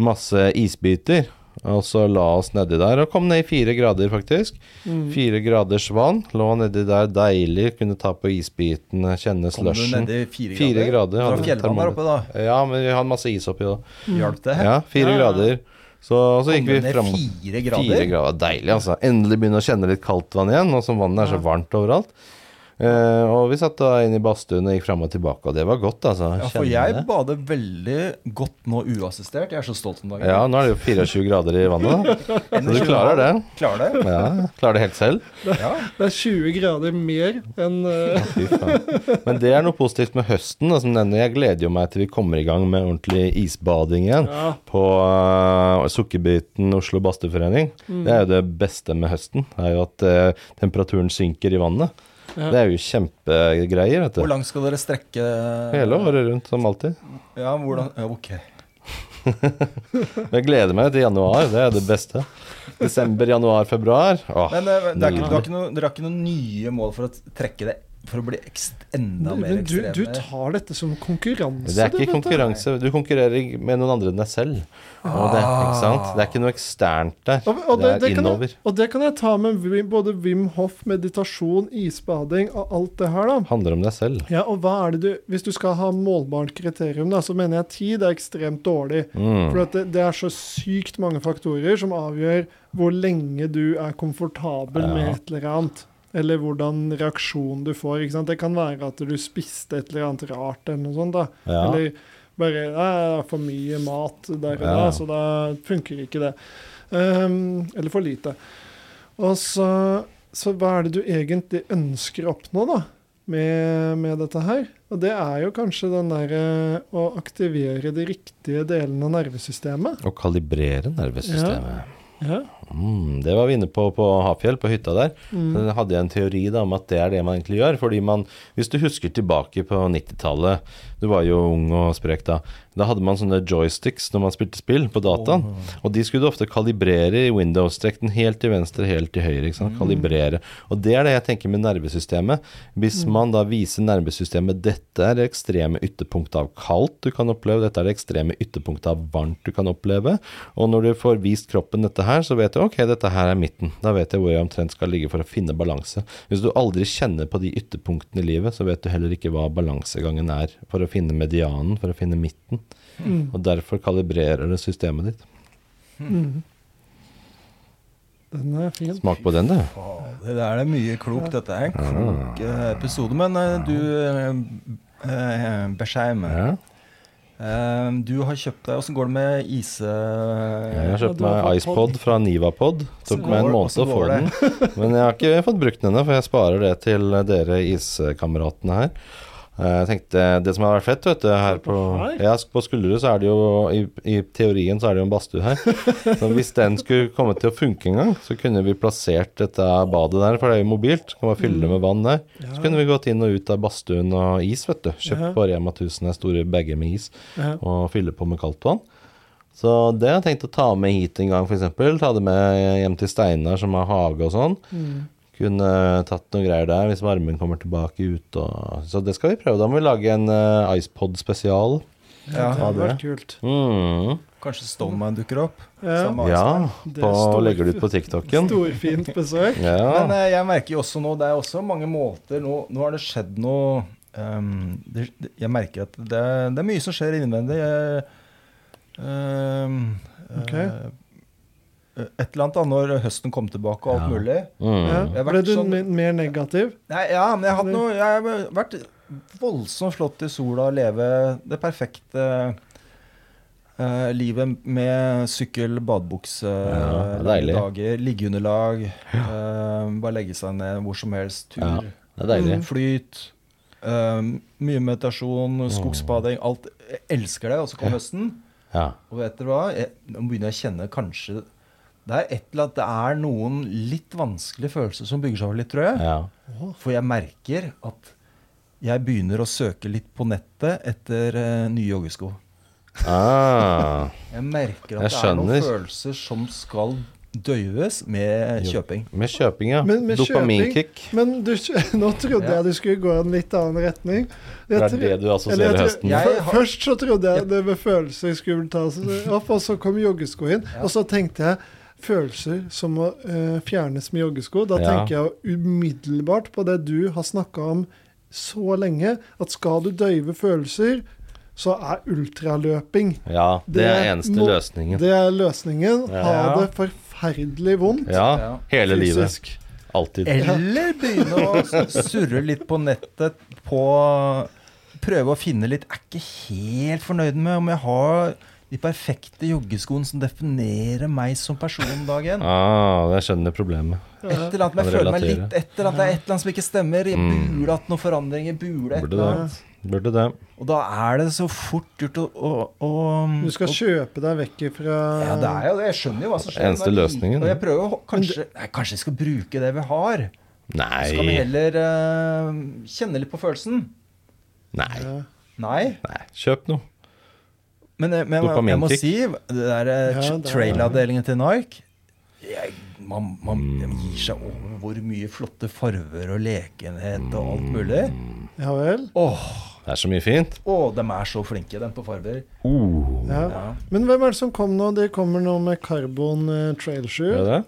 S4: masse isbiter. Og så la oss nedi der, og kom ned i fire grader, faktisk. Fire graders vann. Lå nedi der, deilig. Kunne ta på isbitene, kjenne
S5: Kom du
S4: slushen.
S5: nedi fire grader?
S4: Fire grader
S5: Drakk
S4: hadde
S5: Hjelmeland der
S4: termometer.
S5: oppe, da?
S4: Ja, men vi hadde masse is oppi da.
S5: Hjalp det?
S4: Mm. Ja, fire
S3: Ja, ja.
S4: grader. Så, så gikk
S5: Kom
S4: vi
S5: du ned
S4: fram.
S5: Fire grader?
S4: Fire grader, deilig altså. Endelig begynne å kjenne litt kaldt vann igjen, nå som vannet er så varmt overalt. Eh, og vi satt da inne i badstuen og gikk fram og tilbake, og det var godt, altså.
S5: Ja, for
S4: Kjenne
S5: jeg
S4: det.
S5: bader veldig godt nå uassistert. Jeg er så stolt om dagen.
S4: Ja, nå er det jo 24 grader i vannet, da. Så du klarer det.
S5: Klarer det?
S4: Ja, klarer det helt selv.
S5: Ja.
S3: Det er 20 grader mer enn eh,
S4: Fy faen. Men det er noe positivt med høsten. Da, som denne. Jeg gleder jo meg til vi kommer i gang med ordentlig isbading igjen.
S3: Ja.
S4: På eh, Sukkerbiten Oslo Badstueforening.
S3: Mm.
S4: Det er jo det beste med høsten. Det er jo at eh, temperaturen synker i vannet.
S3: Ja.
S4: Det er jo kjempegreier. Vet
S5: Hvor
S4: du.
S5: langt skal dere strekke
S4: Hele året rundt, som alltid.
S5: Ja, hvordan ja, Ok.
S4: Men jeg gleder meg til januar. Det er det beste. Desember, januar, februar. Åh,
S5: Men eh, det er ikke,
S4: nydelig.
S5: dere, har ikke noe, dere har ikke noen nye mål for å trekke det for å bli ekst, enda mer
S3: Men du,
S5: ekstreme.
S3: du tar dette som konkurranse,
S4: Det er
S3: du, vet
S4: ikke
S3: du.
S4: konkurranse. Du konkurrerer med noen andre enn deg selv. Og det, ikke sant? det er ikke noe eksternt der.
S3: Og, og, det,
S4: Det er
S3: det kan jeg,
S4: innover.
S3: og det kan jeg ta med Wim- både Wim Hof, meditasjon, isbading og alt det her, da.
S4: handler om deg selv.
S3: Ja, og hva er det du, Hvis du skal ha målbart kriterium, da, så mener jeg tid er ekstremt dårlig.
S4: Mm.
S3: For at det, det er så sykt mange faktorer som avgjør hvor lenge du er komfortabel
S4: Ja.
S3: med et eller annet. Eller hvordan reaksjon du får. ikke sant? Det kan være at du spiste et eller annet rart. eller noe sånt da.
S4: Ja.
S3: Eller bare «Nei, det er for mye mat der og
S4: Ja.
S3: da, så da funker ikke det. Ehm, eller for lite. Og så, så hva er det du egentlig ønsker å oppnå, da? Med, med dette her. Og det er jo kanskje den derre å aktivere de riktige delene av nervesystemet.
S4: Å kalibrere nervesystemet.
S3: Ja.
S4: Mm, det var vi inne på på Hafjell, på hytta der. Så hadde jeg en teori da, om at det er det man egentlig gjør. fordi man, Hvis du husker tilbake på 90-tallet, du var jo ung og sprek da, da hadde man sånne joysticks når man spilte spill på dataen. Og de skulle du ofte kalibrere i Windows-trekten helt til venstre, helt til høyre. ikke sant? Kalibrere. Og det er det jeg tenker med nervesystemet. Hvis man da viser nervesystemet dette er det ekstreme ytterpunktet av kaldt du kan oppleve, dette er det ekstreme ytterpunktet av varmt du kan oppleve. Og når du får vist kroppen dette her, så vet du ok, dette her er midten. Da vet jeg hvor jeg omtrent skal ligge for å finne balanse. Hvis du aldri kjenner på de ytterpunktene i livet, så vet du heller ikke hva balansegangen er for å finne medianen, for å finne midten.
S3: Mm,
S4: Og derfor kalibrerer det systemet ditt.
S3: mm. Den er fin.
S4: Smak på den, du.
S5: Fader, det er det mye klokt. Dette er en
S3: Ah.
S5: klok eh, episode. Men eh, du, eh, eh, Bersheim,
S4: Ja.
S5: eh, du har kjøpt deg Åssen går det med eh? ise...
S4: Jeg har kjøpt
S3: Ja, du har
S4: meg
S3: fått pod.
S4: iPod fra Nivapod. Tok
S5: Så
S4: meg en
S5: går-
S4: måned
S5: så
S4: å få
S5: går
S4: den.
S5: det.
S4: Men jeg har ikke fått brukt den ennå, for jeg sparer det til dere iskameratene her. Eh, Jeg tenkte, Det som hadde vært fett vet du, her på,
S3: Her?
S4: ja, på Skullerud, så er det jo i, i teorien så er det jo en badstue her. Så hvis den skulle komme til å funke en gang, så kunne vi plassert dette badet der, for det er jo mobilt. Kan man fylle
S5: Mm.
S4: det med vann der. Så kunne vi gått inn og ut av badstuen og is, vet du. Kjøpt
S3: Ja.
S4: på Rema 1000 her store bager med is
S3: Ja.
S4: og fylle på med kaldt vann. Så det har jeg tenkt å ta med hit en gang, f.eks. Ta det med hjem til Steinar, som har hage og sånn.
S3: Mm.
S4: Kunne tatt noen greier der hvis varmen kommer tilbake ut og Så det skal vi prøve. Da må vi lage en eh, icepod spesial.
S5: Ja,
S3: det
S4: ja,
S3: hadde
S4: det.
S3: vært kult.
S4: Mm.
S5: Kanskje Stoneman dukker opp?
S3: Ja.
S5: Samme
S4: Ja,
S5: Iceman.
S3: Det
S4: på,
S3: står-
S4: legger det ut på TikToken.
S3: Storfint besøk.
S4: Ja.
S5: Men eh, jeg merker jo også nå, det er også mange måter Nå, nå har det skjedd noe ehm, det, det- Jeg merker at det, det er mye som skjer innvendig. Jeg, ehm,
S3: Ok.
S5: eh, et eller annet da, når høsten kom tilbake og alt
S4: Ja.
S5: mulig.
S3: Ja.
S4: Mm.
S5: Jeg har vært
S3: Ble du
S5: sånn-
S3: me- mer negativ?
S5: Nei, ja, men jeg har, hatt noe, jeg har vært voldsomt slått i sola og leve det perfekte eh, livet med sykkel, badebukse,
S4: Ja,
S5: eh,
S4: deilig.
S5: dager, liggeunderlag. eh, bare legge seg ned hvor som helst. Tur.
S4: Ja, Det er deilig.
S5: Flyt. eh, mye meditasjon, skogsbading. Alt. Jeg elsker det. Og så kom høsten.
S4: Ja.
S5: Og vet dere hva? Jeg, nå begynner jeg å kjenne kanskje Det er et eller annet Det er noen litt vanskelige følelser som bygger seg over litt, tror jeg.
S4: ja.
S5: For jeg merker at jeg begynner å søke litt på nettet etter eh, nye joggesko.
S4: Ah.
S5: Jeg merker
S4: Jeg
S5: at det er noen
S4: skjønner.
S5: følelser som skal døyves med kjøping.
S4: Med kjøping, ja.
S3: Men med
S4: Dopaminkick.
S3: kjøping- Men du, nå trodde
S5: Ja.
S3: jeg du skulle gå en litt annen retning.
S4: Det er
S3: tro-
S4: det du
S3: eller
S4: assosierer
S3: jeg
S4: høsten
S3: tro-
S4: med.
S5: Jeg
S3: Fø-
S5: har-
S3: Først så trodde jeg det med følelser skulle tas opp, og så kom joggesko inn. Og så tenkte jeg følelser som må eh, fjernes med joggesko. Da
S4: Ja.
S3: tenker jeg jo umiddelbart på det du har snakka om så lenge, at skal du døyve følelser, så er ultraløping
S4: Ja, det er
S3: Det
S4: eneste
S3: må-
S4: løsningen.
S3: Det er løsningen.
S4: Ja.
S3: Ha det forferdelig vondt.
S4: Ja,
S5: Ja.
S4: hele livet.
S3: fysisk.
S4: Alltid.
S5: Eller begynne å s- surre litt på nettet på Prøve å finne litt Er ikke helt fornøyd med om jeg har de perfekte joggeskoene som definerer meg som person dagen.
S4: Ah, jeg skjønner problemet.
S5: Et eller annet, men jeg
S4: Kan
S5: føler meg
S4: relatere.
S5: litt et eller annet, Det er et eller annet som ikke stemmer. Jeg
S4: Mm.
S5: burde hatt noen forandringer. Burde et
S4: Burde
S5: eller annet.
S4: det. Burde det.
S5: Og da er det så fort gjort å, å, å
S3: Du skal
S5: å-
S3: kjøpe deg vekk ifra
S5: Ja, det er jo det. Jeg skjønner jo hva som skjer.
S4: Eneste
S5: men-
S4: løsningen.
S5: Og jeg prøver jo å- kanskje Nei, kanskje jeg skal bruke det vi har. Så skal vi
S4: Nei.
S5: heller eh, kjenne litt på følelsen.
S4: Nei.
S3: Ja.
S5: Nei.
S4: Nei. Kjøp noe.
S5: Men, eh, men jeg må
S4: Dopaminkick.
S5: si, det der eh,
S3: Ja,
S5: tra-
S3: det er-
S5: trailavdelingen til Nike jeg man, man gir seg over hvor mye flotte farver og lekenhet og alt mulig.
S3: Ja vel?
S5: Åh,
S4: Det er så mye fint.
S5: åh, de er så flinke, de på farver.
S4: Uh,
S3: Ja.
S5: Ja.
S3: Men hvem er det som kom nå? De kommer nå med Carbon eh, Trail
S4: gjør
S3: Shoe.
S4: det?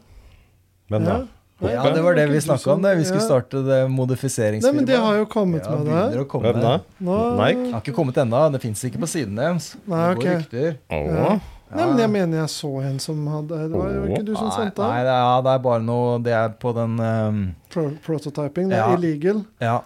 S4: Hvem da?
S3: Ja.
S5: Ja, det var det vi snakka om. det. Vi skulle
S3: sånn, Ja.
S5: starte det
S3: Nei, men
S5: modifiseringsfirmaet.
S3: de har jo kommet
S5: ja,
S3: med det
S5: begynner å
S3: her.
S5: komme.
S4: Hvem da?
S3: Nå,
S4: Nike?
S5: Jeg har ikke kommet ennå. Det fins ikke på siden deres. Det går
S3: Nei, ok.
S5: rykter.
S4: Åh.
S3: Ja. Nei, men jeg mener jeg så en som hadde Det var jo ikke du som
S5: Nei,
S3: sendte
S5: nei,
S3: den?
S5: det er- ja, det er bare noe Det er på den ehm,
S3: Pro prototyping, det er
S5: Ja.
S3: illegal.
S5: Ja.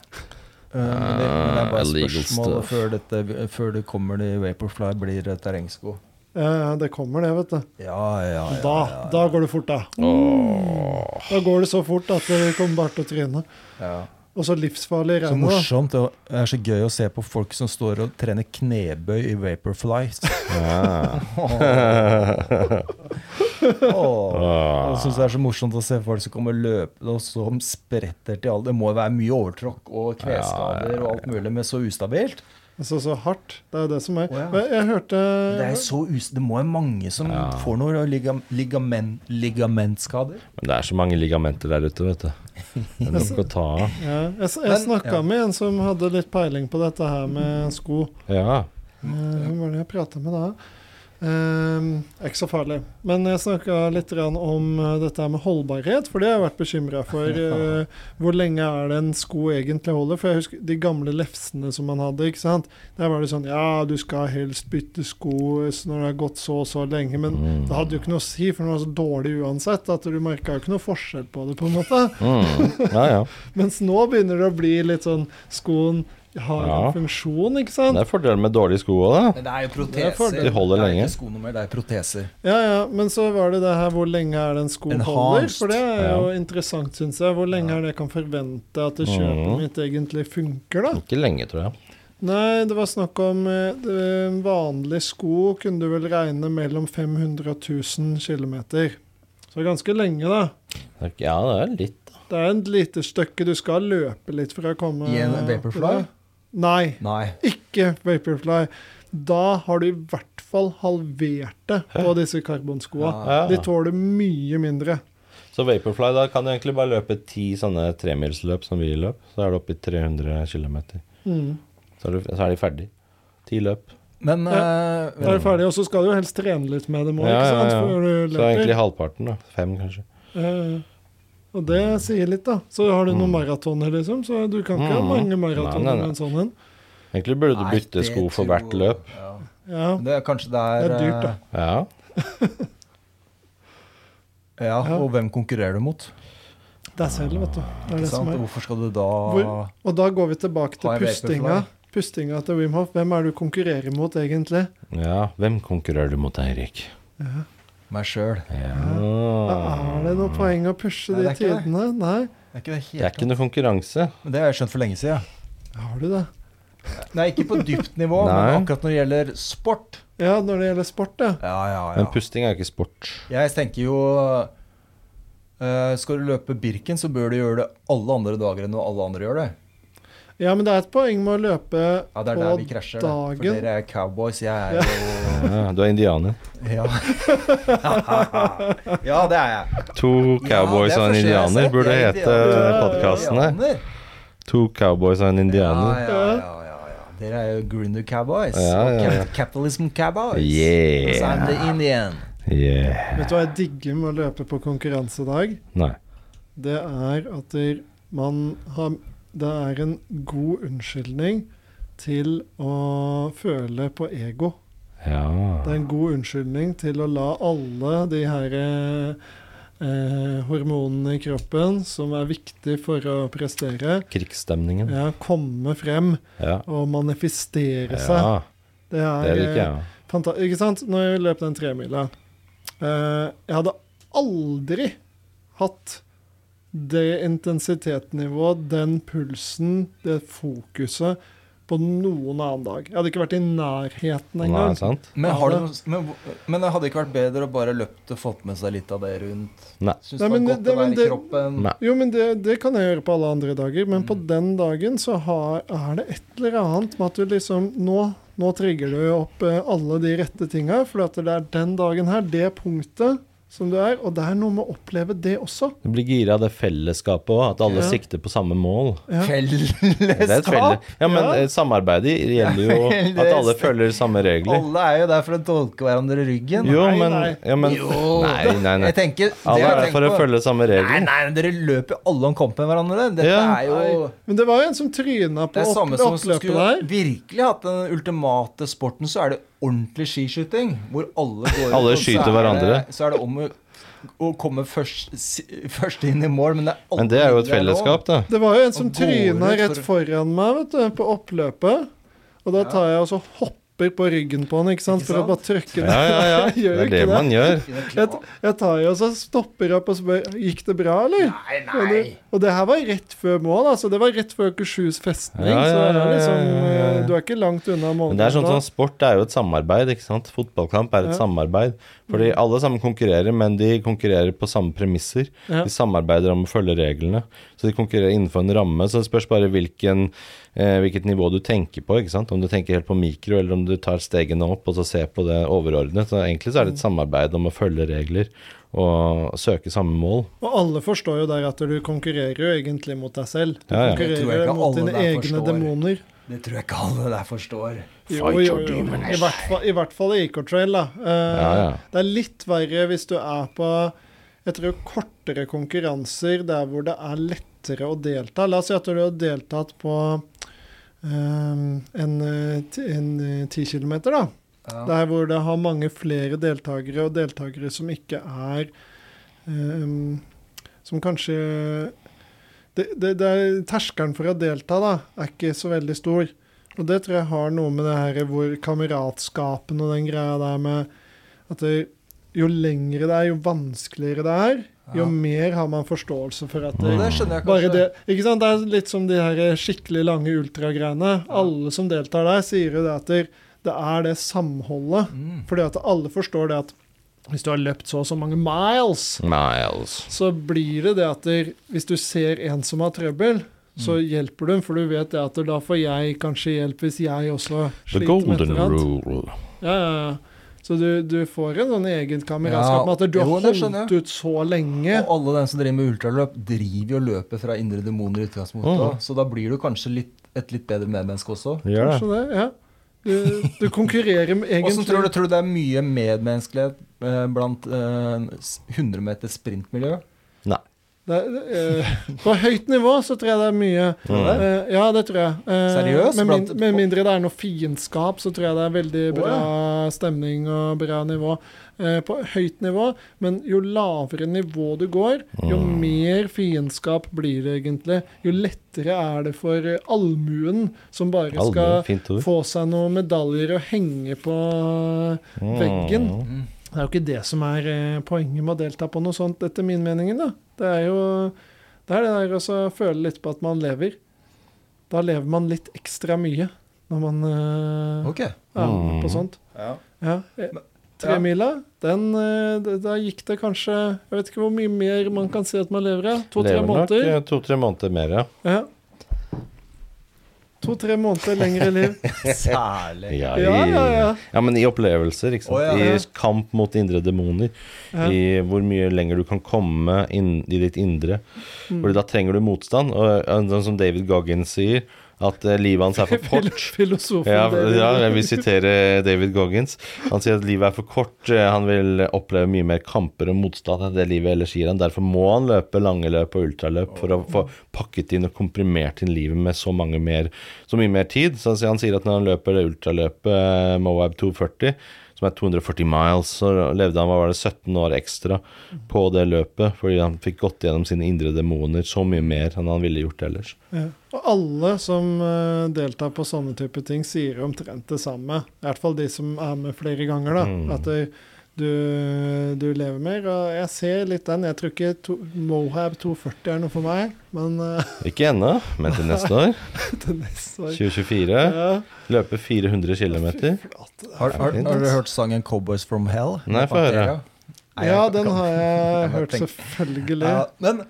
S5: Eh, men det, men det er bare
S4: Illegal
S5: spørsmål
S4: stuff.
S5: før, dette, eh, før det kommer de Vaporfly blir eh, terrengsko.
S3: Ja, ja, det kommer det, vet du.
S5: Ja, ja, ja.
S3: Da, da går det fort, da. Da går det så fort at det kommer bare til å tryne.
S5: ja.
S3: Og så livsfarlig i
S5: Så
S3: regnet. da.
S5: morsomt. og Det er så gøy å se på folk som står og trener knebøy i Vaporfly.
S4: Ah.
S5: Jeg syns det er så morsomt å se folk som kommer løpende og som spretter til alle. Det må jo være mye overtråkk og kneskader og alt mulig, men så ustabilt.
S3: Altså så hardt. Det er det som er.
S5: Å, ja.
S3: Men jeg hørte
S5: Det, er så us det må være mange som får noe ligam ligamen ligamentskader.
S4: Men det er så mange ligamenter der ute, vet du. Det er nok å ta av.
S3: ja, Jeg, s- jeg
S5: Men-
S3: snakka
S5: ja.
S3: med en som hadde litt peiling på dette her med sko.
S4: Ja.
S3: Eh, Hvem var det jeg prata med da? Ehm, ikke så farlig. Men jeg snakka litt grann om eh, dette her med holdbarhet, for det har jeg vært bekymra for. eh, hvor lenge er det en sko egentlig holder? For jeg husker de gamle lefsene som man hadde. ikke sant? Der var det sånn Ja, du skal helst bytte sko s- når det har gått så og så lenge. Men det hadde jo ikke noe å si, for den var så dårlig uansett at du merka ikke noe forskjell på det. på en måte.
S4: Mm. Ja, ja.
S3: Mens nå begynner det å bli litt sånn Skoen har
S4: Ja.
S3: en funksjon, ikke sant?
S4: Det er fordelen med dårlige sko òg, da.
S5: Men det er jo
S3: Det er
S5: proteser.
S3: fordel.
S4: De holder
S5: det er
S4: lenge.
S5: ikke sko noe mer, det er proteser.
S3: Ja, ja, men så var det det her hvor lenge er det en sko
S5: Enhanced.
S3: holder? For det er jo
S4: Ja.
S3: interessant, syns jeg. Hvor lenge er det jeg kan forvente at det
S4: Mhm.
S3: kjøpet mitt egentlig funker, da?
S4: Ikke lenge, tror jeg.
S3: Nei, det var snakk om eh, det- en vanlig sko kunne du vel regne mellom 500 og 1000 km. Så ganske lenge, da.
S4: Det er ikke- Ja, det er litt.
S3: Det er en lite stykke du skal løpe litt for å komme
S5: I en
S3: eh,
S5: Vaporfly?
S3: til det. Nei,
S5: Nei.
S3: ikke Vaporfly. Da har du i hvert fall halvert det på disse
S5: Ah.
S3: karbonskoa.
S4: Ja.
S3: De tåler mye mindre.
S4: Så Vaporfly, da kan du egentlig bare løpe ti sånne tremilsløp som vi løp. Så er du oppe i 300 km.
S3: Mm.
S4: Så er, du, så er de ferdig. Ti løp.
S5: Men eh,
S3: Da er det ferdig, og så skal du jo helst trene litt med dem òg,
S4: Ja, ja,
S3: ikke sant?
S4: ja.
S3: Før du
S4: Så er egentlig
S3: løper.
S4: halvparten, da. Fem, kanskje.
S3: Eh, og det sier litt, da. Så har du noen maratoner, liksom, så du kan ikke ha
S4: Mm.
S3: mange
S4: Nei, nei,
S3: maratoner
S4: nei.
S3: med en sånn en.
S4: Egentlig burde du
S5: nei,
S4: bytte
S5: det
S4: sko for
S5: tror-
S4: hvert løp.
S5: Ja.
S3: Ja.
S5: Det er kanskje det er
S3: Det er dyrt, da.
S5: eh,
S4: Ja.
S5: eh, Ja,
S3: Ja.
S5: og hvem konkurrerer du mot?
S3: Det er selv, vet du. Det er
S5: Ikke
S3: det som
S5: sant?
S3: er.
S5: Hvorfor skal du da
S3: Hvor- Og da går vi tilbake
S5: Har
S3: til
S5: jeg
S3: pustinga.
S5: vaporfly?
S3: Pustinga til Wim Hof. Hvem er det du konkurrerer mot, egentlig?
S4: ja. Hvem konkurrerer du mot, Eirik?
S5: meg sjøl?
S3: Da
S4: Ja.
S3: er det noe poeng å pushe
S5: Nei,
S3: de
S5: det er ikke det.
S3: tidene? Nei?
S5: Det er ikke det
S4: Det er
S5: helt
S4: ikke noe konkurranse.
S5: Men Det har jeg skjønt for lenge siden.
S3: Har du det?
S5: Nei, ikke på dypt nivå,
S4: Nei.
S5: men akkurat når det gjelder sport.
S3: Ja, når det gjelder sport, ja.
S5: Ja, ja,
S4: Men
S5: ja.
S4: pusting er ikke sport.
S5: Jeg tenker jo eh, Skal du løpe Birken, så bør du gjøre det alle andre dager enn når alle andre gjør det.
S3: Ja, men det er et poeng med å løpe
S5: Ja, Det er der vi krasjer. det. For
S3: dagen.
S5: dere er cowboys, jeg er jo
S4: Ja, du er indianer.
S5: Ja, ja det er jeg.
S4: To cowboys
S5: ja,
S4: og en
S5: det er første jeg
S4: indianer
S5: har
S4: burde
S5: sett. Jeg
S4: hete
S5: er indianer.
S4: podkastene.
S5: Indianer.
S4: To cowboys og en
S5: Ja,
S4: indianer.
S5: ja, ja, ja, ja. Dere er jo Grinder Cowboys.
S4: Ja,
S5: og
S4: ja, ja.
S5: cap- Capitalism Cowboys.
S4: Yeah.
S5: Så er det Indian.
S4: Yeah.
S3: Vet du hva jeg digger med å løpe på konkurransedag?
S4: Nei.
S3: Det er at der man har Det er en god unnskyldning til å føle på ego. Det
S4: Ja.
S3: er en god unnskyldning til å la alle de her eh, eh, hormonene i kroppen som er viktig for å prestere,
S4: Krigsstemningen.
S3: ja, komme frem
S4: Ja.
S3: og manifestere seg.
S4: ja.
S3: Det
S4: Det
S3: er
S4: liker
S3: eh,
S4: jeg.
S3: Fanta ikke sant? Når jeg løp den tremila eh, Jeg hadde aldri hatt det intensitetsnivået, den pulsen, det fokuset på noen annen dag. Jeg hadde ikke vært i nærheten
S4: Nei,
S3: engang.
S4: sant?
S5: Men, har du, noe- men, men det hadde ikke vært bedre å bare løpt og fått med seg litt av det rundt?
S4: Nei.
S5: Syns det
S3: Nei,
S5: var
S3: men
S5: godt
S3: det-
S5: å
S3: men
S5: være i
S3: det-
S5: kroppen?
S4: Nei.
S3: Jo, men det, det kan jeg gjøre på alle andre dager, men
S4: Mm.
S3: på den dagen så har, er det et eller annet med at du liksom Nå, nå trigger du opp eh, alle de rette tinga, for at det er den dagen her, det punktet, som du er. Og det er noe med å oppleve det også.
S4: Du blir gira av det fellesskapet òg, at alle
S3: Ja.
S4: sikter på samme mål.
S3: Ja.
S4: Det er et felle.
S5: Fellesskap!
S4: Ja, men
S3: Ja.
S4: eh, samarbeidet gjelder jo
S5: Felles-
S4: at alle følger samme regler.
S5: Alle er jo der for å tolke hverandre i ryggen.
S4: Jo,
S3: Nei,
S4: men,
S3: nei.
S4: ja, men
S5: Jo.
S4: Nei, nei, nei.
S5: Jeg tenker, det
S4: Alle
S5: jeg
S4: er der
S5: tenker
S4: for å
S5: på-
S4: følge samme
S5: Nei,
S4: regel.
S5: nei, dere løper jo alle om kamp med hverandre. Dette
S4: Ja.
S5: er jo
S3: Men det var jo en som tryna på
S5: Det er
S3: opp,
S5: samme som
S3: oppløpet
S5: skulle
S3: der.
S5: virkelig hatt den ultimate sporten, så er det ordentlig skiskyting. Hvor alle går ut,
S4: Alle
S5: og så
S4: skyter
S5: er det-
S4: hverandre.
S5: Så er det om å, å komme først, si- først inn i mål, men det er alle
S4: Men det er jo et
S5: der nå.
S4: fellesskap, da.
S3: Det var jo en som
S5: Og går
S3: tryna
S5: ut
S3: rett
S5: for-
S3: foran meg vet du, på oppløpet. Og da tar jeg og så hopper på ryggen på han ikke sant?
S5: Ikke
S3: for å
S5: sant?
S3: bare trykke
S4: Ja, ja, ja.
S3: Jeg
S4: Det
S3: gjør jo
S4: er det
S3: ikke det.
S4: man gjør.
S3: Jeg, jeg tar jo og så stopper opp og spør Gikk det bra, eller?
S5: Nei,
S3: Og det,
S5: nei.
S3: og det her var rett før mål, altså. Det var rett før Akershus festning.
S4: Ja, ja,
S3: så det
S4: ja,
S3: er
S4: ja,
S3: liksom,
S4: ja, ja, ja.
S3: eh, du er ikke langt unna målet.
S4: Men det er sånn som sport det er jo et samarbeid, ikke sant? Fotballkamp er et
S3: Ja. Mm.
S4: samarbeid. Fordi alle sammen konkurrerer, men de konkurrerer på samme premisser.
S3: Ja.
S4: De samarbeider om å følge reglene. Så de konkurrerer innenfor en ramme. Så det spørs bare hvilken, eh, hvilket nivå du tenker på, ikke sant? Om du tenker helt på mikro, eller om du tar stegene opp og så ser på det overordnet. Så egentlig så er det
S3: Mm.
S4: et samarbeid om å følge regler og søke samme mål.
S3: Og alle forstår jo der at du konkurrerer jo egentlig mot deg selv. Du
S4: Ja, ja.
S5: Det tror jeg
S3: konkurrerer
S5: ikke
S3: mot
S5: alle
S3: dine
S5: der
S3: egne
S5: forstår.
S3: demoner.
S5: Det tror jeg ikke alle der forstår.
S3: Jo,
S4: Fight
S3: jo,
S4: your
S3: jo.
S4: demons.
S3: I hvert fall, i, hvert fall i Ecotrail, da. Eh,
S4: Ja, ja.
S3: Det er litt verre hvis du er på jeg tror, kortere konkurranser der hvor det er lettere å delta. La oss si at du har deltatt på eh, en, eh, ti- en eh, 10 km, da.
S5: Ja.
S3: Der hvor det har mange flere deltakere, og deltakere som ikke er ehm, Som kanskje det, det, det er Terskelen for å delta da, er ikke så veldig stor. Og det tror jeg har noe med det her hvor kameratskapen og den greia der med at det, jo lengre det er, jo vanskeligere det er, jo
S5: Ja.
S3: mer har man forståelse for at det,
S5: Det skjønner jeg
S3: bare
S5: kanskje.
S3: det, ikke sant? Det er litt som de her skikkelig lange ultragreiene. Alle som deltar der, sier jo det at det- det er det samholdet.
S5: Mm.
S3: Fordi at alle forstår det at hvis du har løpt så og så mange miles,
S5: Mm.
S4: Miles.
S3: så blir det det at det, hvis du ser en som har trøbbel, så
S5: Mm.
S3: hjelper du dem, for du vet det at da får jeg kanskje hjelp hvis jeg
S4: The
S3: også sliter med et
S4: golden
S3: eller annet.
S4: rule.
S3: Ja, ja, ja. Så du, du får en sånn egen kameratskap
S5: Ja,
S3: med at du har
S5: jo, det skjønner
S3: holdt
S5: jeg.
S3: ut så lenge.
S5: Og alle dem som driver med ultraløp, driver jo løpet fra indre demoner i utgangspunktet.
S4: Mm.
S5: også. Så da blir du kanskje litt, et litt bedre medmenneske også.
S4: Gjør det.
S3: Kanskje det, ja. Du, du konkurrerer med
S5: Hvordan
S3: egentlig
S5: tror du, tror du det er mye medmenneskelighet eh, blant eh, s- 100 meter sprintmiljø?
S4: Nei.
S3: Det, det, eh, på høyt nivå så tror jeg det er mye.
S4: Mm.
S3: Eh, ja, det tror jeg. Eh,
S5: Seriøst?
S3: Med, min,
S5: Blant-
S3: med mindre det er noe fiendskap, så tror jeg det er veldig
S5: Å,
S3: bra stemning og bra nivå. Eh, på høyt nivå, men jo lavere nivå du går, jo
S4: Mm.
S3: mer fiendskap blir det egentlig. Jo lettere er det for eh, allmuen, som bare
S4: Aldri.
S3: skal
S4: Fint ord.
S3: få seg noen medaljer og henge på veggen.
S4: Mm.
S3: Det er jo ikke det som er eh, poenget med å delta på noe sånt, etter min mening. da. Det er jo det er det der også å føle litt på at man lever. Da lever man litt ekstra mye når man eh,
S5: Ok.
S3: er med
S4: Mm.
S3: på sånt.
S5: Ja.
S3: Ja. eh,
S5: ja.
S3: Tremila, den eh, d- Da gikk det kanskje Jeg vet ikke hvor mye mer man kan si at man lever av. To-tre
S4: Lever nok,
S3: måneder.
S4: eh, To-tre måneder mer, ja.
S3: Ja. To-tre måneder lengre liv.
S5: Særlig.
S4: Ja, i,
S3: Ja, ja, ja.
S4: ja, men i opplevelser, ikke sant.
S5: Å, ja.
S4: I
S3: Ja.
S4: kamp mot indre demoner.
S3: Ja.
S4: I hvor mye lenger du kan komme inn i ditt indre. Fordi da trenger du motstand. Og eh, sånn som David Goggins sier, at eh, livet hans er for kort.
S3: Filosofen
S4: Ja,
S3: David.
S4: ja, jeg vil sitere David Goggins. Han sier at livet er for kort. eh, Han vil oppleve mye mer kamper og motstand enn det livet ellers gir han. Derfor må han løpe lange løp og ultraløp for å få pakket inn og komprimert inn livet med så, mange mer, så mye mer tid. Så han sier- han sier at når han løper det ultraløpet eh, Moab 240 som er 240 miles, så levde han hva var det, 17 år ekstra på det løpet, fordi han fikk gått gjennom sine indre demoner så mye mer enn han ville gjort ellers.
S3: Ja. Og alle som eh, deltar på sånne type ting, sier omtrent det samme. I hvert fall de som er med flere ganger. da,
S4: Mm.
S3: At det- du, du lever mer. Og jeg ser litt den. Jeg tror ikke to, Mohab 240 er noe for meg, men eh,
S4: Ikke ennå, men til neste år,
S3: til neste år
S4: 2024.
S3: ja.
S4: Løpe 400 km.
S5: Har, har, har
S4: fint,
S5: dere
S4: ass.
S5: hørt sangen 'Cowboys from Hell'?
S4: Nei,
S5: Med
S4: få høre.
S5: Pantera? Nei,
S3: ja,
S5: jeg
S3: den
S5: kan-
S3: har jeg
S5: kan
S3: hørt,
S5: tenke-
S3: selvfølgelig.
S5: Ja, men,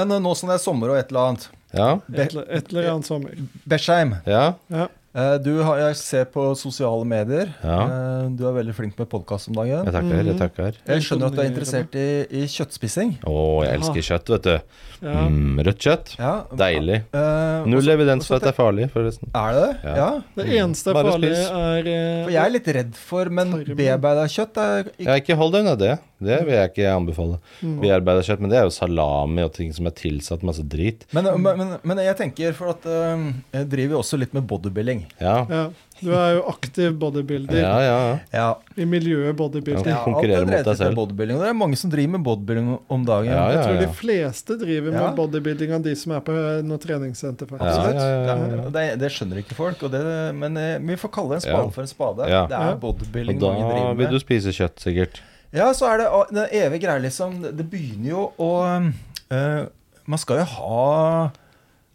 S5: men nå som det er sommer og et eller annet
S4: Ja,
S3: Et, eller- et eller annet sommer.
S5: Besheim,
S4: ja.
S3: Ja.
S5: Eh, Du har, jeg ser på sosiale medier.
S4: Ja.
S5: Eh, Du er veldig flink med podkast om dagen.
S4: Jeg takker, jeg takker.
S5: Jeg skjønner at du er interessert i, i kjøttspising.
S4: Å, jeg elsker kjøtt, vet du.
S3: Ja.
S4: Mm, rødt kjøtt.
S5: Ja.
S4: Deilig.
S5: Eh,
S4: Null evidens
S5: også
S4: for at det er farlig, forresten.
S5: er det det?
S4: Ja.
S5: Ja.
S3: Det eneste
S4: Bare
S3: farlige
S4: spis.
S3: er eh,
S5: For jeg er litt redd for, men
S3: Tarmen.
S5: bearbeida kjøtt er ikke
S4: Ja, ikke hold deg unna det. Det vil jeg ikke anbefale.
S3: Mm.
S4: Bearbeida kjøtt, men det er jo salami og ting som er tilsatt masse drit.
S5: men, men, men, men jeg tenker for at eh, jeg driver jo også litt med bodybuilding.
S4: Ja,
S3: ja. Du er jo aktiv bodybuilder.
S4: ja, ja. ja.
S5: Ja,
S3: I miljøet bodybuilding.
S4: Ja. konkurrere
S5: alltid
S4: mot deg
S5: drevet litt med
S4: selv.
S5: Bodybuilding, og det er mange som driver med bodybuilding om dagen.
S4: Ja,
S3: Jeg
S4: ja,
S3: tror
S4: ja.
S3: de fleste driver med
S5: Ja.
S3: bodybuilding av de som er på eh, noe treningssenter.
S4: Ja,
S3: faktisk.
S4: ja, ja, ja, ja.
S5: Og Det, det skjønner ikke folk, og det, men eh, vi får kalle en spade
S4: Ja.
S5: for en spade.
S4: Ja.
S5: Det
S3: Ja.
S5: er bodybuilding
S4: Og da
S5: mange driver
S4: vil
S5: med.
S4: du spise kjøtt, sikkert.
S5: Ja, så er det ah, den evige greia, liksom. Det det begynner jo å eh, Man skal jo ha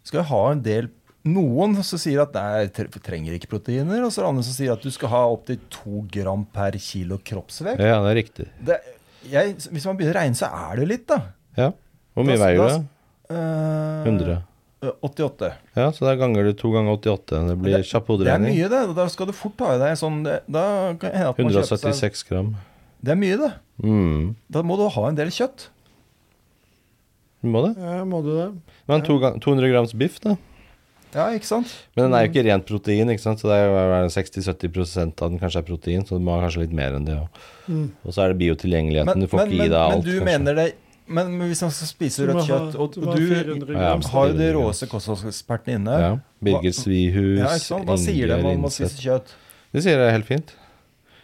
S5: Skal jo ha en del noen som sier at nei, tre- trenger ikke proteiner, og så er det andre som sier at du skal ha opptil to gram per kilo kroppsvekt.
S4: Ja, det er riktig.
S5: Det, jeg, hvis man begynner å regne, så er det jo litt, da.
S4: Ja. Hvor mye
S5: Da-
S4: veier du?
S5: da-
S4: da?
S5: Eh,
S4: 100.
S5: eh, 88.
S4: Ja, så da ganger du to ganger 88. Det blir kjapp
S5: Det er
S4: hoderegning.
S5: mye, det. Da skal du fort ha i deg sånn det- Da kan det hende at man kjøper seg
S4: 176 gram.
S5: Det er mye, det.
S4: Mm.
S5: Da må du ha en del kjøtt.
S4: Du må det.
S3: Ja, må du det?
S4: Men to gang- 200 grams biff, da.
S5: Ja, ikke sant?
S4: Men den er jo ikke rent protein, ikke sant? så det er jo hva er det, 60-70 av den kanskje er protein. Så du må ha kanskje litt mer enn det òg.
S3: Mm.
S4: Og så er det biotilgjengeligheten. Du får
S5: men,
S4: ikke i deg alt.
S5: men du
S4: kanskje.
S5: mener det Men men hvis man skal spise
S3: Du må
S5: rødt
S3: ha-
S5: kjøtt, og
S3: du må ha
S5: og du
S3: 400
S4: Ja,
S3: grams.
S5: har jo de råeste kostholdsekspertene inne
S4: ja. Birger
S5: Hva-
S4: Svihus,
S5: Ja, ikke sant? Hva sier de
S4: Ingebjørg
S5: om å spise
S4: Innseth.
S5: kjøtt?
S4: De sier det er helt fint. Det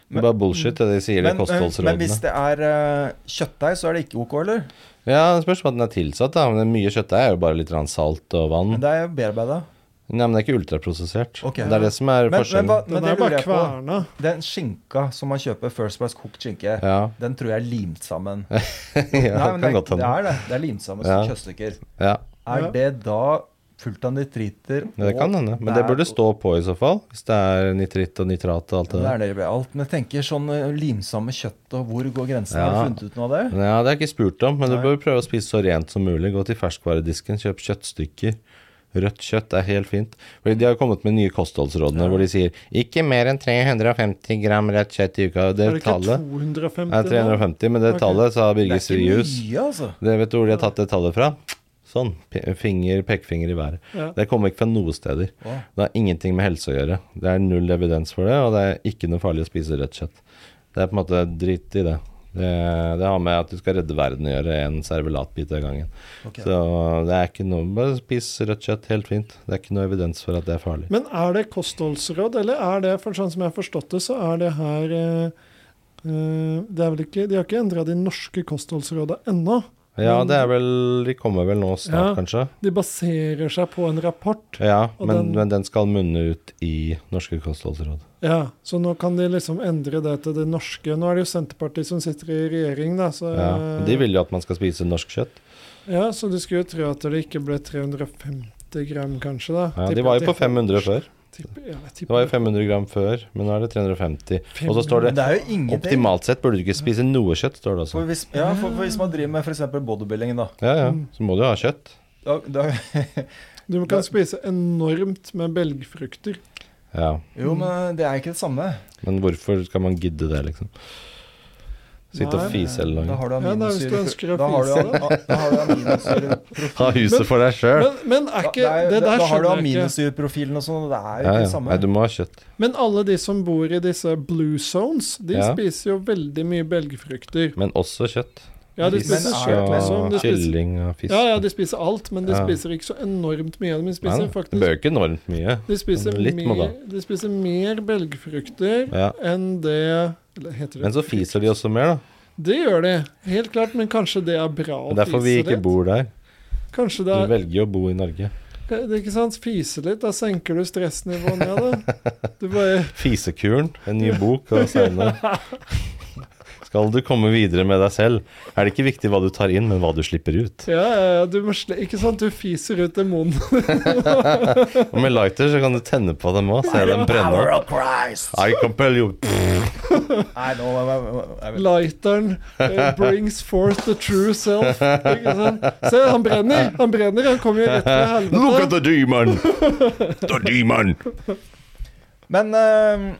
S5: Men-
S4: er bare bullshit, det de sier i
S5: Men, men, men hvis
S4: kostholdsrådene.
S5: det er eh, kjøttdeig, så er det ikke ok, eller?
S4: Ja, det spørs hva den er tilsatt, da. Men det mye kjøttdeig er jo bare litt grann salt og vann.
S5: Men det er jo bearbeida.
S4: Nei, men det er ikke ultraprosessert.
S5: Ok.
S4: Det er det som er
S5: Men, men,
S4: forskjellen.
S5: hva- men
S3: Den
S5: det
S3: er
S5: lurer
S3: bare
S5: jeg på.
S3: kverna.
S5: Den skinka som man kjøper First Price kokt skinke,
S4: Ja,
S5: den tror jeg er limt sammen.
S4: ja
S5: Nei,
S4: det
S5: men
S4: kan
S5: det,
S4: godt
S5: det
S4: hende.
S5: er det. Det er limt sammen
S4: Ja.
S5: som kjøttstykker.
S4: Ja,
S5: Er
S3: Ja.
S5: det da fullt av nitriter?
S4: men det
S5: og-
S4: kan hende. Men det
S5: Nei,
S4: burde stå på i så fall, hvis det er nitritt og nitrat og alt
S5: Det
S4: det
S5: er
S4: der.
S5: det med alt. Men jeg tenker sånn eh, limsomme kjøtt og hvor går grensen? Har
S4: Ja.
S5: du funnet ut noe av det?
S4: Ja, det er ikke spurt om, men du
S5: Nei.
S4: bør prøve å spise så rent som mulig. Gå til ferskvaredisken, kjøp kjøttstykker. Rødt kjøtt er helt fint. Fordi De har kommet med nye kostholdsrådene hvor de sier 'ikke mer enn 350 gram rødt kjøtt i uka'.
S3: Er
S4: Det
S3: det ikke
S4: tallet
S3: 250?
S4: er
S3: da?
S4: 350, men det
S3: Ok.
S4: tallet sa Birger Svihus.
S5: mye, altså.
S4: Det vet du hvor de har tatt det tallet fra? Sånn. pe- Finger, pekefinger i været.
S3: Ja.
S4: Det kommer ikke fra noe steder.
S5: Wow.
S4: Det har ingenting med helse å gjøre. Det er null evidens for det, og det er ikke noe farlig å spise rødt kjøtt. Det er på en måte drit i det. Det, det har med at du skal redde verden å gjøre, en servelatbit av gangen.
S5: Ok.
S4: Så det er ikke noe Bare spis rødt kjøtt, helt fint. Det er ikke noe evidens for at det er farlig.
S3: Men er det kostholdsråd, eller er det, for sånn som jeg har forstått det, så er det her eh, eh, det er vel ikke, De har ikke endra de norske kostholdsråda ennå.
S4: Ja, det er vel De kommer vel nå snart,
S3: Ja.
S4: kanskje?
S3: De baserer seg på en rapport.
S4: Ja,
S3: Og
S4: men
S3: den-
S4: den, men den skal munne ut i Norske kostholdsråd.
S3: Ja, Så nå kan de liksom endre det til det norske. Nå er det jo Senterpartiet som sitter i regjering, da. Så,
S4: Ja, og de vil jo at man skal spise norsk kjøtt.
S3: ja, så du skulle jo tro at det ikke ble 350 gram, kanskje. da.
S4: Ja,
S3: Tipper
S4: de var jo på
S3: at
S4: 500 før.
S3: tipper- ja, jeg
S4: Det var jo
S3: tipper-
S4: 500 gram før, men nå er det 350. Og så står
S5: Men
S4: det
S5: det er jo ingenting.
S4: Optimalt sett burde du ikke spise noe kjøtt, står det også.
S5: For hvis, ja, for, for hvis man driver med f.eks. bodybuilding, da,
S4: Ja, ja.
S3: Mm.
S4: Så må du jo ha kjøtt.
S5: da, da
S3: Du kan spise enormt med belgfrukter.
S4: Ja.
S5: Jo, men det er ikke det samme.
S4: Men hvorfor skal man gidde det, liksom? Sitte og
S3: Nei.
S4: fise hele
S5: Da
S4: dagen.
S5: har du
S3: Ja, nei, hvis du
S5: aminosyre
S3: ønsker å
S5: Da har du,
S3: fise
S5: da har du aminosyre
S4: Ha huset for deg sjøl.
S3: Men, men er
S5: da,
S3: ikke Det
S5: da,
S3: der
S5: da har du
S3: skjønner jeg ikke.
S5: aminosyreprofilen og sånn, og det er jo
S4: Ja,
S5: ikke
S4: ja.
S5: det
S4: Nei,
S5: samme.
S4: du må ha kjøtt.
S3: Men alle de som bor i disse blue zones, de
S4: Ja.
S3: spiser jo veldig mye belgfrukter.
S4: Men også kjøtt.
S3: Ja, de
S5: Men
S3: spiser
S5: er-
S3: kjøtt også.
S4: Og
S3: men De spiser,
S4: kylling og fisk.
S3: ja, ja, de spiser alt, men de
S4: Ja.
S3: spiser ikke så enormt mye. De
S4: Nei, da.
S3: spiser
S4: det bør
S3: faktisk
S4: jo ikke enormt mye.
S3: de spiser,
S4: Litt må
S3: mer, de spiser mer belgfrukter
S4: Ja.
S3: enn det Eller heter det
S4: Men så fiser de også mer, da.
S3: Det gjør de, helt klart, men kanskje det er bra å
S4: Det er derfor vi ikke
S3: fise litt?
S4: bor der.
S3: Kanskje
S4: Du
S3: det er
S4: velger jo å bo i Norge.
S3: det er Ikke sant? Fise litt, da senker du stressnivået ned, da. Du bare
S4: Fisekuren, en ny bok og senere. Skal du komme videre med deg selv, er det ikke viktig hva du tar inn, men hva du slipper ut.
S3: Ja, ja, ja, du må sle... Ikke sant? Du fiser ut demonen.
S4: Og med lighter så kan du tenne på dem òg, se dem brenne
S5: Power
S4: opp.
S5: of Christ!
S4: I compel you.
S5: Nei, nå jeg vet-
S3: Lighteren eh, brings forth the true self. Ikke sant? Se, han brenner! Han brenner, han kommer jo rett fra
S4: Look at
S3: helvete.
S4: the demon! The demon!
S5: Men ehm,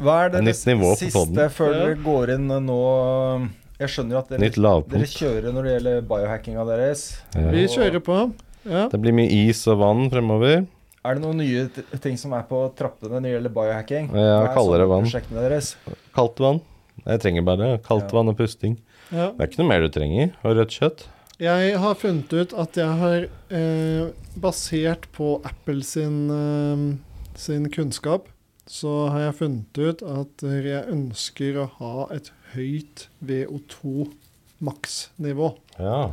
S5: hva er det,
S4: Nytt nivå på
S5: siste
S4: podden.
S5: før
S3: Ja.
S5: dere går inn nå Jeg skjønner at dere,
S4: Nytt lavpunkt.
S5: dere kjører når det gjelder biohackinga deres.
S4: Ja.
S3: Vi kjører på. Ja.
S4: Det blir mye is og vann fremover.
S5: Er det noen nye t- ting som er på trappene når det gjelder biohacking? Hva
S4: Ja,
S5: er
S4: kaldere vann.
S5: sommerprosjektene deres?
S4: Kaldt vann. Jeg trenger bare kaldt
S5: Ja.
S4: vann og pusting.
S3: Ja.
S4: Det er ikke noe mer du trenger. Og rødt kjøtt.
S3: Jeg har funnet ut at jeg har eh, basert på Apple sin, eh, sin kunnskap, så har jeg funnet ut at jeg ønsker å ha et høyt VO2 maksnivå.
S4: Ja.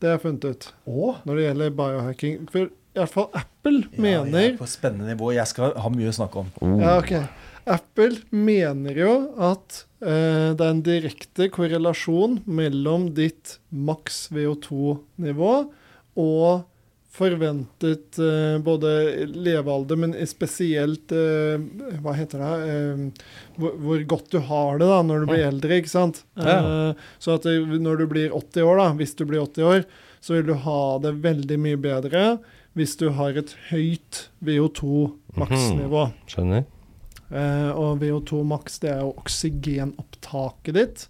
S3: Det har jeg funnet ut
S5: Å,
S3: når det gjelder biohacking. For i hvert fall Apple
S5: ja,
S3: mener
S5: jeg er På spennende nivå. Jeg skal ha mye å snakke om.
S3: Ja, ok. Apple mener jo at eh, det er en direkte korrelasjon mellom ditt maks VO2-nivå og forventet eh, både levealder, men spesielt eh, Hva heter det? Eh, hvor, hvor godt du har det da når du blir eldre, ikke sant?
S4: Ja.
S3: Eh, så at det, når du blir 80 år, da, hvis du blir 80 år, så vil du ha det veldig mye bedre hvis du har et høyt VO2-maksnivå.
S4: Skjønner.
S3: Eh, og VO2 maks, det er jo oksygenopptaket ditt.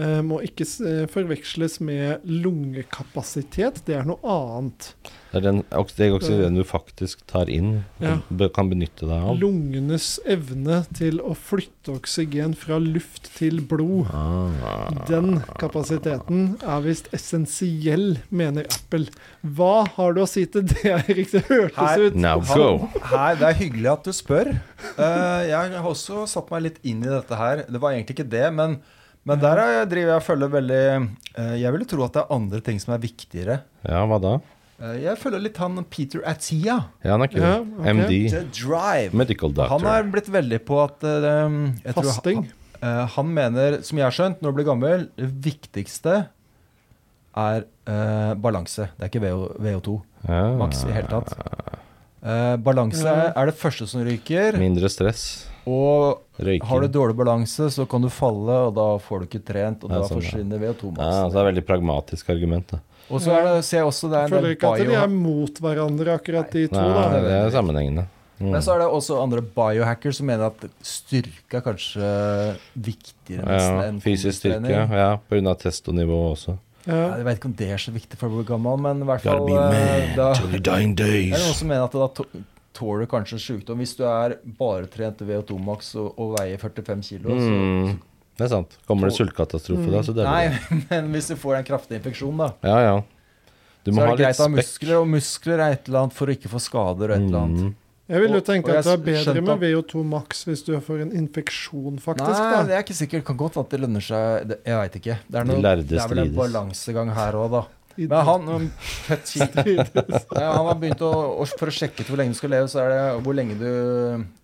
S3: Eh, må ikke s- eh, forveksles med lungekapasitet, det er noe annet.
S4: Det er den oks- det er oksygenen du faktisk tar inn,
S3: Ja.
S4: og be- kan benytte deg av.
S3: Lungenes evne til å flytte oksygen fra luft til blod.
S4: Ah.
S3: Den kapasiteten er visst essensiell, mener Apple. Hva har du å si til det, Erik? Det hørtes
S5: Her-
S3: ut
S4: Now go!
S5: Hei, det er hyggelig at du spør. Eh, jeg har også satt meg litt inn i dette her. Det var egentlig ikke det, men, men der er jeg, driver jeg og følger veldig eh, Jeg ville tro at det er andre ting som er viktigere.
S4: Ja, hva da?
S5: Eh, jeg følger litt han Peter Atia.
S4: Ja, han er kul.
S3: Ja, ok.
S4: MD.
S5: The Drive.
S4: Medical
S5: Han har
S4: doctor.
S5: blitt veldig på at eh, jeg tror
S3: fasting.
S5: Han, eh, han mener, som jeg har skjønt, når du blir gammel, det viktigste er eh, balanse. Det er ikke VO, VO2
S4: Ja.
S5: maks i det hele tatt. Eh, balanse er det første som ryker.
S4: Mindre stress.
S5: Og
S4: Røyking.
S5: Har du dårlig balanse, så kan du falle, og da får du ikke trent, og
S4: Ja,
S5: da
S4: sånn, ja.
S5: forsvinner VO2-massen.
S4: Ja, altså det er et veldig pragmatisk argument. Da.
S5: Og så er det, ser jeg også det er en
S3: Føler
S5: del
S3: ikke at de
S5: bio...
S3: er mot hverandre, akkurat de to.
S4: Nei,
S3: da.
S4: det er sammenhengende. Mm.
S5: Men så er det også andre biohackers som mener at styrke er kanskje viktigere nesten
S4: Ja,
S5: enn
S4: fysisk styrke,
S5: kondistrening.
S4: ja, pga. testonivå også.
S5: Ja,
S3: Ja.
S5: Jeg vet ikke om det er så viktig for å bli gammel, men i hvert
S4: Gotta
S5: fall
S4: be
S5: eh, da,
S4: man till the dying
S5: er det noen
S4: days.
S5: som mener at da to- tåler du kanskje sykdom. Hvis du er bare trent VO2-max og, og veier 45 kilo,
S4: Mm, det er sant. Kommer det sultkatastrofe da,
S5: så
S4: så
S5: Mm. Nei,
S4: døller du.
S5: men hvis du får en kraftig infeksjon, da.
S4: Ja, ja. Du må
S5: så er
S4: ha
S5: det
S4: litt
S5: greit å ha
S4: spekk.
S5: muskler, og muskler er et eller annet for å ikke få skader og et eller annet.
S4: Mm.
S3: Jeg vil jo
S5: Og-
S3: tenke
S5: og
S3: at det
S5: jeg
S3: er bedre
S5: skjønte
S3: med
S5: at-
S3: VO2 maks hvis du får en infeksjon, faktisk.
S5: Nei, det
S3: da.
S5: er ikke sikkert. Kan godt at det lønner seg. Det- Jeg veit ikke. Det er, noe,
S4: lærde
S5: det er vel en
S4: strides.
S5: balansegang her òg, da.
S3: I-
S5: Men han um, Petit- Nei, Han har begynt å å- For å sjekke ut hvor lenge du skal leve, så er det hvor lenge du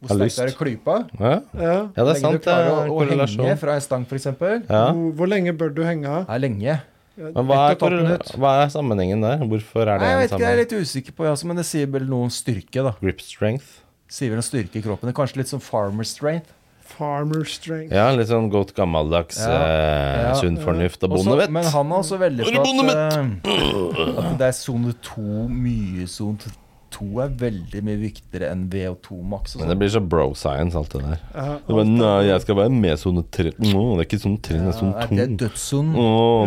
S5: Hvor sterk
S4: Har
S5: du er i
S4: lyst.
S5: klypa.
S4: Ja.
S3: ja.
S4: ja,
S5: Hvor
S4: det er
S5: lenge du
S4: sant. Det
S5: klarer
S4: er
S5: å,
S4: en
S5: å henge
S4: korrelasjon.
S5: fra en stang, f.eks. Det
S4: Ja.
S3: Hvor, hvor lenge bør du henge av?
S5: er lenge.
S4: Men hva er,
S5: Ett og et halvt
S4: korrela-
S5: minutt.
S4: hva er sammenhengen der? Hvorfor
S5: Nei,
S4: er det
S5: jeg
S4: en
S5: vet ikke, jeg er
S4: sammenheng?
S5: litt usikker på, jeg også, men det sier vel noe om styrke, da.
S4: Grip strength?
S5: Sier vel en styrke i kroppen. Det er Kanskje litt som farmer strength.
S3: Farmer strength.
S4: Ja, litt sånn godt gammeldags
S5: Ja.
S4: eh,
S5: Ja.
S4: sunn fornuft og
S5: Også-
S4: bondevett.
S5: Men han er også veldig
S4: Er
S5: på
S4: det
S5: at, eh, at det er sone 2 mye sone 2 er veldig mye viktigere enn VO2 maks. og
S4: Men det
S5: sånn.
S4: blir så bro science, alt det der.
S3: Ja,
S4: Du bare, Nei, jeg skal være med sone tre. Nå, det er ikke sone tre, det er sånn
S5: Ja,
S4: sone
S5: er
S4: to.
S5: det dødssonen?
S4: Å,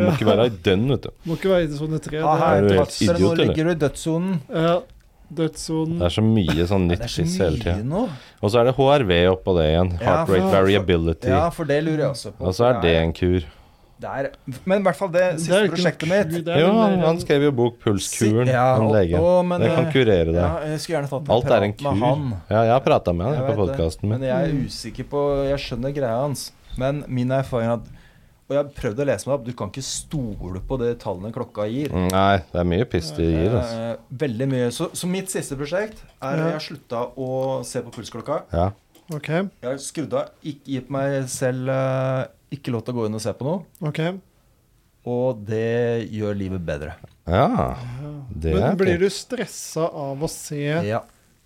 S4: må ikke være i den, vet du.
S3: Må ikke være i sone tre.
S5: Ja,
S3: det
S5: her,
S4: Er du helt
S5: Vadsø,
S4: idiot,
S5: nå
S4: eller?
S5: ligger du i dødssonen.
S3: er- Ja, dødssonen.
S4: Det er så mye sånn
S5: Det
S4: nytt
S5: er så
S4: skiss hele
S5: mye
S4: tida.
S5: nå.
S4: Og så er det HRV oppå det igjen.
S5: Ja,
S4: Heart
S5: for-
S4: rate variability.
S5: Ja, for det lurer jeg også på.
S4: Og så er det en kur.
S5: Det er- Men i hvert fall det
S3: Det er
S5: siste
S3: jo ikke noe
S5: prosjektet mitt.
S3: ku, det er
S4: Jo,
S3: jo
S4: han,
S3: mer
S4: han
S3: en-
S4: skrev jo bok
S5: Si-
S4: 'Pulskuren',
S5: ja,
S4: han
S5: og-
S4: legen.
S5: og- men,
S4: Det kan
S5: eh,
S4: kurere deg.
S5: Ja, jeg skulle gjerne tatt
S4: Alt er en
S5: prat med
S4: kur.
S5: han.
S4: Ja, jeg har prata med
S5: Jeg
S4: han på
S5: vet det,
S4: podkasten min.
S5: Men jeg er usikker på Jeg skjønner greia hans. Men min erfaring er at Og jeg har prøvd å lese meg opp. Du kan ikke stole på det tallene klokka gir.
S4: Mm, Nei, det er mye piss de gir, altså.
S5: Eh, veldig mye. Så, så mitt siste prosjekt er
S3: Ja.
S5: Jeg har slutta å se på pulsklokka.
S4: Ja.
S3: Ok,
S5: Jeg har skrudd av. Ikke gitt meg selv eh, ikke lov til å gå inn og se på noe.
S3: ok.
S5: Og det gjør livet bedre.
S4: ja. Det
S3: Men
S4: er
S3: blir
S4: fint.
S3: du stressa av å se
S5: Ja.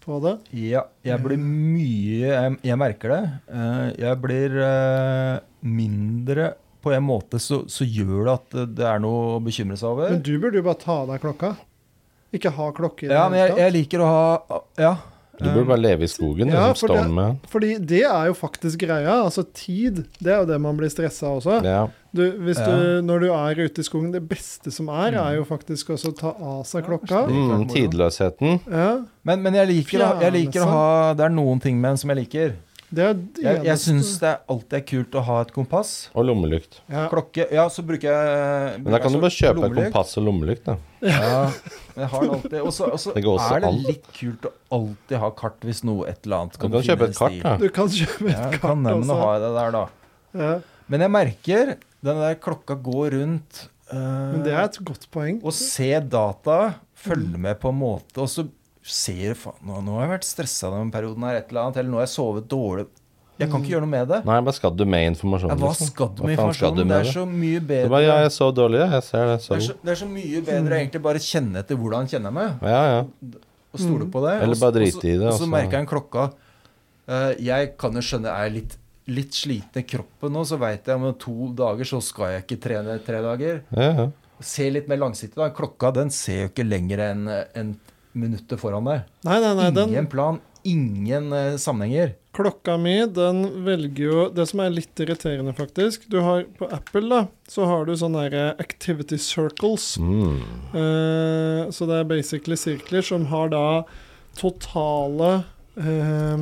S3: på det?
S5: Ja, jeg blir mye Jeg, jeg merker det. Eh, Jeg blir eh, mindre På en måte så, så gjør det at det er noe å bekymre seg over.
S3: Men du burde jo bare ta av deg klokka. Ikke ha klokke i det
S5: Ja, men
S3: hele
S5: jeg,
S3: tatt.
S5: jeg liker å ha Ja.
S4: Du burde bare leve i skogen,
S3: ja,
S4: liksom
S3: for det-
S4: Stone Man.
S3: Fordi det er jo faktisk greia. Altså tid, det er jo det man blir stressa også.
S4: Ja.
S3: Du, hvis
S5: Ja. Mm.
S3: du, når du er ute i skogen, det beste som er, er jo faktisk også å ta av seg klokka.
S4: Mm, tidløsheten.
S3: Ja,
S5: Men, men jeg, liker, å- jeg
S3: Fjerne
S5: liker å
S3: seg.
S5: ha Det er noen ting med den som jeg liker.
S3: det er det
S5: Jeg, jeg
S3: eneste-
S5: syns det er alltid er kult å ha et kompass.
S4: Og lommelykt.
S3: ja.
S5: Klokke Ja, så bruker jeg
S4: Men da kan du bare kjøpe
S5: lommelykt.
S4: kompass og lommelykt, da.
S5: Ja, men jeg har det alltid. Og så og så
S4: Det går også
S5: er det
S4: an.
S5: litt kult å alltid ha kart hvis noe et eller annet
S4: Du
S5: kan
S4: kan
S5: finne
S4: kjøpe et kart,
S5: stil.
S4: da.
S3: Du kan kjøpe
S5: Ja,
S3: et
S5: jeg
S3: kart
S5: kan nemlig ha
S3: også.
S5: det der, da.
S3: Ja.
S5: Men jeg merker den der klokka går rundt eh,
S3: Men det er et godt poeng.
S5: Å se data, følge med på en måte, og så ser du faen nå, nå har jeg vært stressa denne perioden her, et eller annet, eller nå har jeg sovet dårlig Jeg kan ikke gjøre noe med det.
S4: Nei, Mm. hva skal du med informasjonen?
S5: Ja, hva
S4: liksom?
S5: skal du med
S4: faen skal
S5: informasjonen?
S4: du
S5: Det
S4: med
S5: er
S4: det?
S5: så mye
S4: Det er bare, ja,
S5: bedre.
S4: jeg Mm. er så dårlig, ja. Jeg ser det. Sånn.
S5: Det er, så,
S4: Sorry.
S5: det er så mye bedre egentlig bare kjenne etter hvordan kjenner jeg meg,
S4: Ja, ja.
S5: og stole
S3: Mm.
S5: på det.
S4: Eller
S5: og så-
S4: bare
S5: og så-
S4: drite i det,
S5: Og
S4: altså.
S5: så merker jeg en klokka. Eh, jeg kan jo skjønne jeg er litt, litt sliten i kroppen nå, så veit jeg om to dager så skal jeg ikke trene tre dager.
S4: ja, ja.
S5: Se litt mer langsiktig, da. Klokka den ser jo ikke lenger enn en minuttet foran deg.
S3: Nei, nei, nei, den
S5: Ingen plan, ingen eh, sammenhenger.
S3: Klokka mi, den velger jo Det som er litt irriterende, faktisk Du har På Apple, da, så har du sånne der activity circles.
S4: Mm.
S3: Eh, så det er basically sirkler som har da totale eh,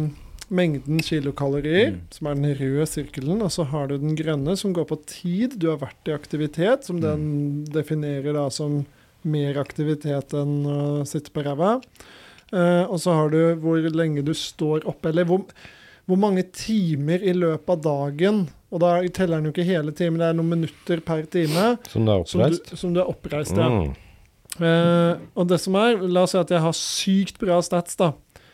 S3: mengden kilokalorier, som er den røde sirkelen, og så har du den grønne, som går på tid du har vært i aktivitet, som den definerer da som mer aktivitet enn å sitte på ræva. Eh, og så har du hvor lenge du står oppe, eller hvor, hvor mange timer i løpet av dagen. Og da teller den jo ikke hele timen, det er noen minutter per time
S4: Som du er
S3: som du,
S4: oppreist?
S3: som du er oppreist. Ja.
S4: Mm.
S3: Eh, og det som er, la oss si at jeg har sykt bra stats, da.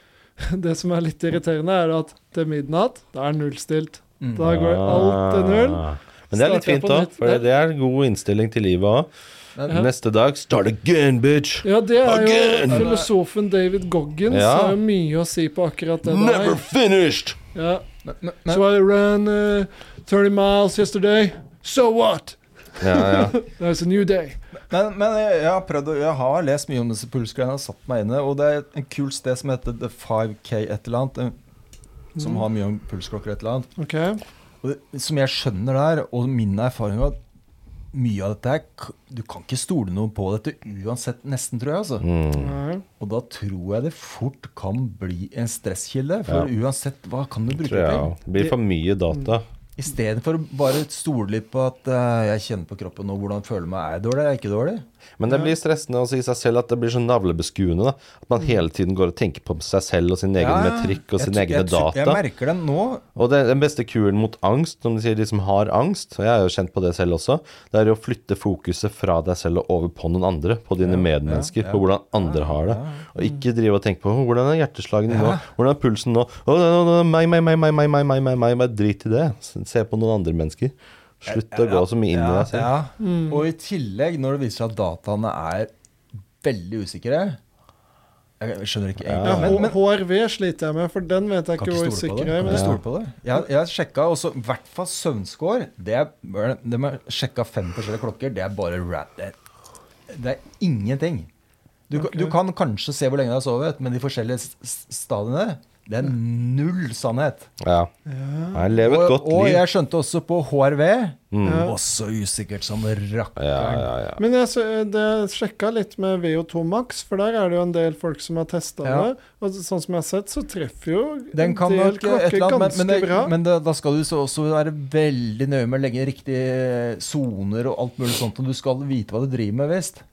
S3: Det som er litt irriterende, er at til midnatt, da er nullstilt.
S5: Mm.
S3: Da går alt til null.
S4: Ah. Men det er litt
S3: Starter jeg
S4: fint
S3: på
S4: òg,
S3: nytt.
S4: for det er en god innstilling til livet òg.
S5: Men-
S4: Neste dag start again, bitch!
S3: Ja, det er jo
S4: Again!
S3: filosofen David Goggins
S4: Ja.
S3: har jo mye å si på akkurat det
S4: Never
S3: der.
S4: finished!
S3: Ja.
S5: Men, men,
S3: So I ran eh, 30 miles yesterday. So what?
S4: Ja, ja.
S3: There's a new day.
S5: men, men jeg, jeg har prøvd å, jeg har lest mye om disse pulsgreiene og satt meg inne, og det er et kult sted som heter The 5K et eller annet, eh, som
S3: Mm.
S5: har mye om pulsklokker et eller annet.
S3: Ok.
S5: Og det- som jeg skjønner der, og min erfaring er at mye av dette her k- Du kan ikke stole noe på dette uansett, nesten, tror jeg. altså.
S4: Mm.
S3: Nei.
S5: Og da tror jeg det fort kan bli en stresskilde. For uansett hva kan du bruke
S4: Tror jeg
S5: til?
S4: òg. Det blir for mye data.
S5: Istedenfor å bare stole litt på at eh, jeg kjenner på kroppen og hvordan jeg føler meg. Er jeg dårlig, er jeg ikke dårlig?
S4: Men det blir stressende å si seg selv at det blir så navlebeskuende. da At man hele tiden går og tenker på seg selv og sin egen
S5: Mm. Ja, ja.
S4: metrikk og
S5: Jeg
S4: sine
S5: tror-
S4: egne
S5: jeg tror- Jeg
S4: data.
S5: merker den nå.
S4: Og det, den beste kuren mot angst, som de sier, de som har angst, og jeg er jo kjent på det selv også, det er å flytte fokuset fra deg selv og over på noen andre, på dine medmennesker, på hvordan andre har det. Og ikke drive og tenke på «Å, hvordan er hjerteslagene nå, hvordan er pulsen nå, å, nei, nei, nei, meg, meg, meg, meg, meg, meg, meg, meg, meg, bare drit i det. Se på noen andre mennesker. Slutt å gå så mye inn i
S5: Ja,
S4: deg selv.
S5: ja. Og i tillegg, når det viser seg at dataene er veldig usikre Jeg skjønner ikke egentlig.
S3: Ja,
S5: men,
S3: H-
S5: men,
S3: HRV sliter jeg med, for den vet jeg
S5: kan ikke
S3: ikke hvor
S5: stole på
S3: sikker
S5: det.
S3: jeg er.
S5: Kan
S3: men
S5: ikke stole på det. Jeg, jeg sjekka også, i hvert fall søvnskår. Det er, de har sjekka fem forskjellige klokker. Det er bare rat. Det, er- det er ingenting. Du, kan- du kan kanskje se hvor lenge du har sovet, men de forskjellige s- s- stadiene det er null sannhet.
S4: Ja. Jeg lever et
S5: Og,
S4: godt
S5: og
S4: liv. Mm.
S5: jeg skjønte også på HRV Også usikkert som
S4: Ja,
S5: rakkeren.
S4: ja, ja.
S3: Men jeg, så- det sjekka litt med VO2 Max, for der er det jo en del folk som har testa
S5: Ja.
S3: det. Og sånn som jeg har sett, så treffer jo
S5: Den kan
S3: en del
S5: nok et
S3: klokker
S5: eller annet,
S3: ganske
S5: men, men, det,
S3: bra.
S5: men det, da skal du så også være veldig nøye med å legge riktige soner og alt mulig sånt, og du skal vite hva du driver med, visst.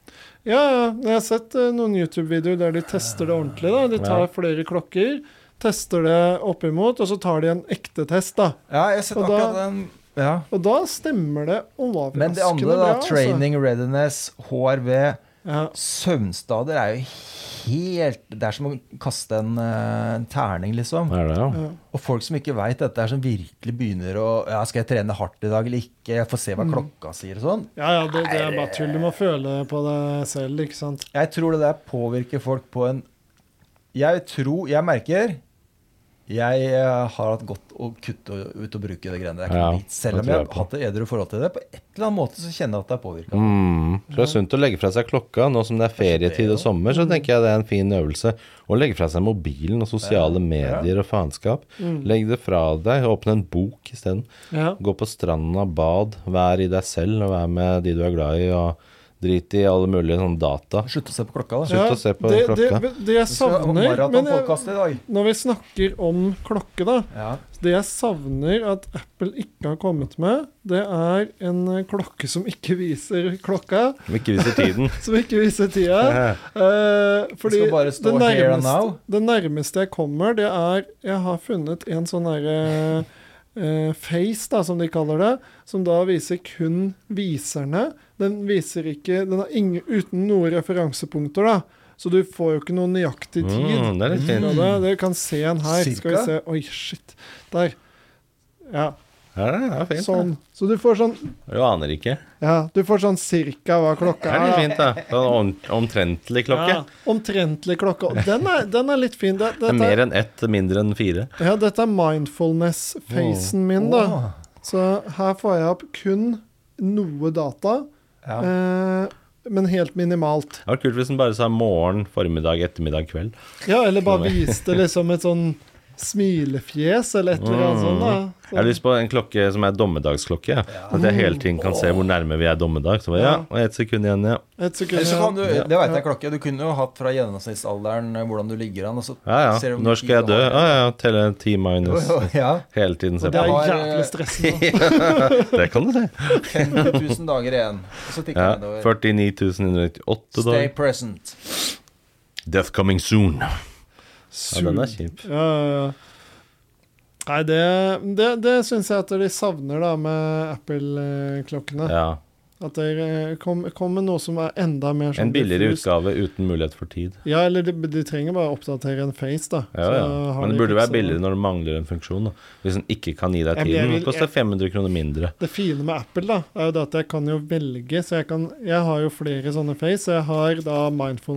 S3: Ja, ja, jeg har sett eh, noen YouTube-videoer der de tester det ordentlig. da. De tar flere klokker, tester det oppimot, og så tar de en ekte test, da.
S5: Ja, jeg har sett
S3: Og da-
S5: akkurat den. Ja.
S3: Og da stemmer det overraskende
S5: Men det andre, da,
S3: bra. altså.
S5: training readiness, HRV,
S3: Ja.
S5: søvnstader er jo helt Det er som å kaste en, eh, en terning, liksom.
S4: Er det, ja.
S5: Og folk som ikke veit dette, er som virkelig begynner å ja, 'Skal jeg trene hardt i dag eller ikke?' Jeg får se
S3: Mm.
S5: hva klokka sier og sånn.
S3: Ja, ja, det, det er bare tull. Du må føle på det selv, ikke sant.
S5: Jeg tror det der påvirker folk på en Jeg tror, jeg merker Jeg eh, har hatt godt å kutte og- ut og bruke det greiene der. Det er ikke
S4: Ja,
S5: noe vits. Selv
S4: det
S5: om
S4: tror
S5: jeg
S4: jeg
S5: har
S4: på.
S5: hatt et edru forhold til det, på et eller annet måte så kjenner jeg at det er påvirka.
S4: Mm. Så det er sunt å legge fra seg klokka nå som det er ferietid og sommer. Så tenker jeg det er en fin øvelse. Å legge fra seg mobilen og sosiale medier og faenskap. Legg det fra deg. Åpne en bok isteden.
S3: Ja.
S4: Gå på stranda, bad. Vær i deg selv og vær med de du er glad i. Og drit i alle mulige sånne data.
S5: Slutt å se på klokka, da.
S4: Slutt å se på
S3: det,
S4: klokka.
S3: Det, det jeg savner men jeg,
S5: Maratonpodkast i dag.
S3: Når vi snakker om klokke, da
S5: Ja.
S3: Det jeg savner at Apple ikke har kommet med, det er en eh, klokke som ikke viser klokka.
S4: Om ikke viser tiden.
S3: Som ikke viser tida. Eh, fordi
S5: skal bare stå
S3: det
S5: here and
S3: nærmeste,
S5: now.
S3: det nærmeste jeg kommer, det er Jeg har funnet en sånn derre eh, face, da, som de kaller det, som da viser kun viserne. Den viser ikke Den er ingen, uten noen referansepunkter, da. Så du får jo ikke noe nøyaktig tid.
S4: Mm, det er litt
S3: Ja,
S4: fint.
S3: det, det kan se en her. Skal vi
S5: Cirka?
S3: se Oi, shit. Der. Ja,
S4: Ja, det er fint. da.
S3: sånn. Så du får sånn
S4: Du aner ikke.
S3: Ja, du får sånn cirka hva
S4: Det
S3: klokka
S4: er
S3: er.
S4: litt
S3: da.
S4: fint, da. Sånn om- omtrentlig klokke.
S3: Ja, omtrentlig klokke. Og Den er, den er litt fin. Det,
S4: Det er
S3: dette,
S4: mer
S3: er,
S4: enn ett, mindre enn fire.
S3: ja, dette er mindfulness-facen min, da.
S5: Åh.
S3: Så her får jeg opp kun noe data,
S5: Ja.
S3: eh, men helt minimalt.
S4: Det var kult hvis den bare sa morgen, formiddag, ettermiddag, kveld.
S3: Ja, eller bare viste liksom et sånn smilefjes eller et eller annet sånt. da.
S4: Mm. Jeg har lyst på en klokke som er dommedagsklokke. Ja. At jeg hele tiden kan se hvor nærme vi er dommedag. Så bare, ja, og ett sekund igjen, ja.
S3: Et sekund
S5: Eller så kan
S3: igjen.
S5: du, det vet jeg klokke, du kunne jo hatt fra gjennomsnittsalderen eh, hvordan du ligger an. Og så
S4: Ja,
S5: ser
S4: ja.
S5: du hvor mye
S4: Når skal jeg
S5: tid du
S4: dø?
S5: har.
S4: Ja, ja, telle ti minus.
S5: Ja,
S4: Hele tiden se
S3: Det
S4: på.
S3: er
S5: har, eh,
S3: jævlig stressende.
S4: Det kan du se.
S5: 50 000 dager igjen. Og så tikker
S4: Ja,
S5: det nedover. Stay
S4: 49.198 dager.
S5: present.
S4: Death coming soon. Ja, den er kjip.
S3: Ja, ja, ja. Nei, det, det, det syns jeg at de savner da med Apple-klokkene.
S4: Ja.
S3: At de kom, kom med noe som er enda mer sånn
S4: En billigere
S3: diffust.
S4: utgave uten mulighet for tid.
S3: Ja, eller de, de trenger bare å oppdatere en face, da.
S4: Ja,
S3: Så
S4: ja. Men
S3: har de liksom-
S4: det burde
S3: fiksa
S4: være billigere når det mangler en funksjon. Da. Hvis den ikke kan gi deg
S3: Jeg blir-
S4: tiden. Det
S3: jeg vil-
S4: koster 500 kroner mindre.
S3: Det fine med Apple da, er jo det at jeg kan jo velge, så jeg kan Jeg har jo flere sånne face. Jeg har da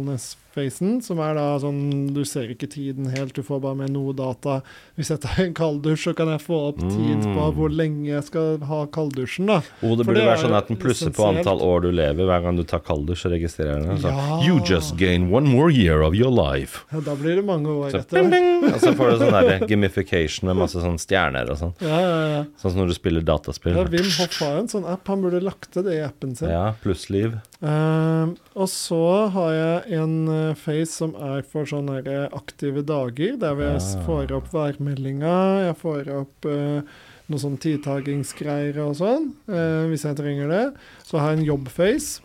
S3: mindfulness-facen, som er da sånn Du ser ikke tiden helt, du får bare med noe data. Hvis jeg tar en kalddusj, så kan jeg få opp tid på
S4: Mm.
S3: hvor lenge jeg skal ha kalddusjen, da.
S4: Og det
S3: For
S4: burde
S3: det
S4: være
S3: er
S4: sånn
S3: jo
S4: at den plusser på
S3: essensielt.
S4: antall år du lever. Hver gang du tar kalddusj, så registrerer den. Så,
S3: Ja.
S4: altså, You just gain one more year of your life.
S3: Ja, da blir det mange år
S4: Så,
S3: etter. det.
S4: og så får du sånn der gamification med masse sånn stjerner og sånn.
S3: Ja, ja, ja.
S4: Sånn som når du spiller dataspill.
S3: Ja, Wim Hoff har jo en sånn app. Han burde lagt til det i appen sin.
S4: Ja, plussliv.
S3: Eh, og så har jeg en eh, face som er for sånne her eh, aktive dager, der hvor jeg s-
S4: Ah.
S3: får opp værmeldinga, jeg får opp eh, noe sånn tidtagingsgreier og sånn, eh, hvis jeg trenger det. Så har jeg en jobbface,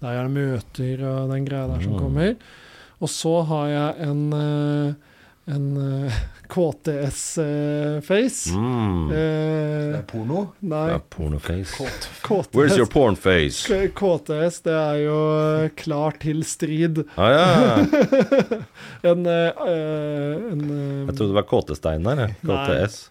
S3: der er det møter og den greia der som
S4: Mm.
S3: kommer. Og så har jeg en, eh, en KTS-face.
S4: Mm.
S5: Det er porno.
S3: eh, nei,
S4: Ja, pornoface.
S3: KTS.
S4: Where's your pornface?
S3: K- KTS, det er jo eh, klar til strid.
S4: Ah, ja.
S3: En, eh, eh, en eh,
S4: Jeg trodde det var Kåtestein der. jeg.
S3: Nei.
S4: KTS.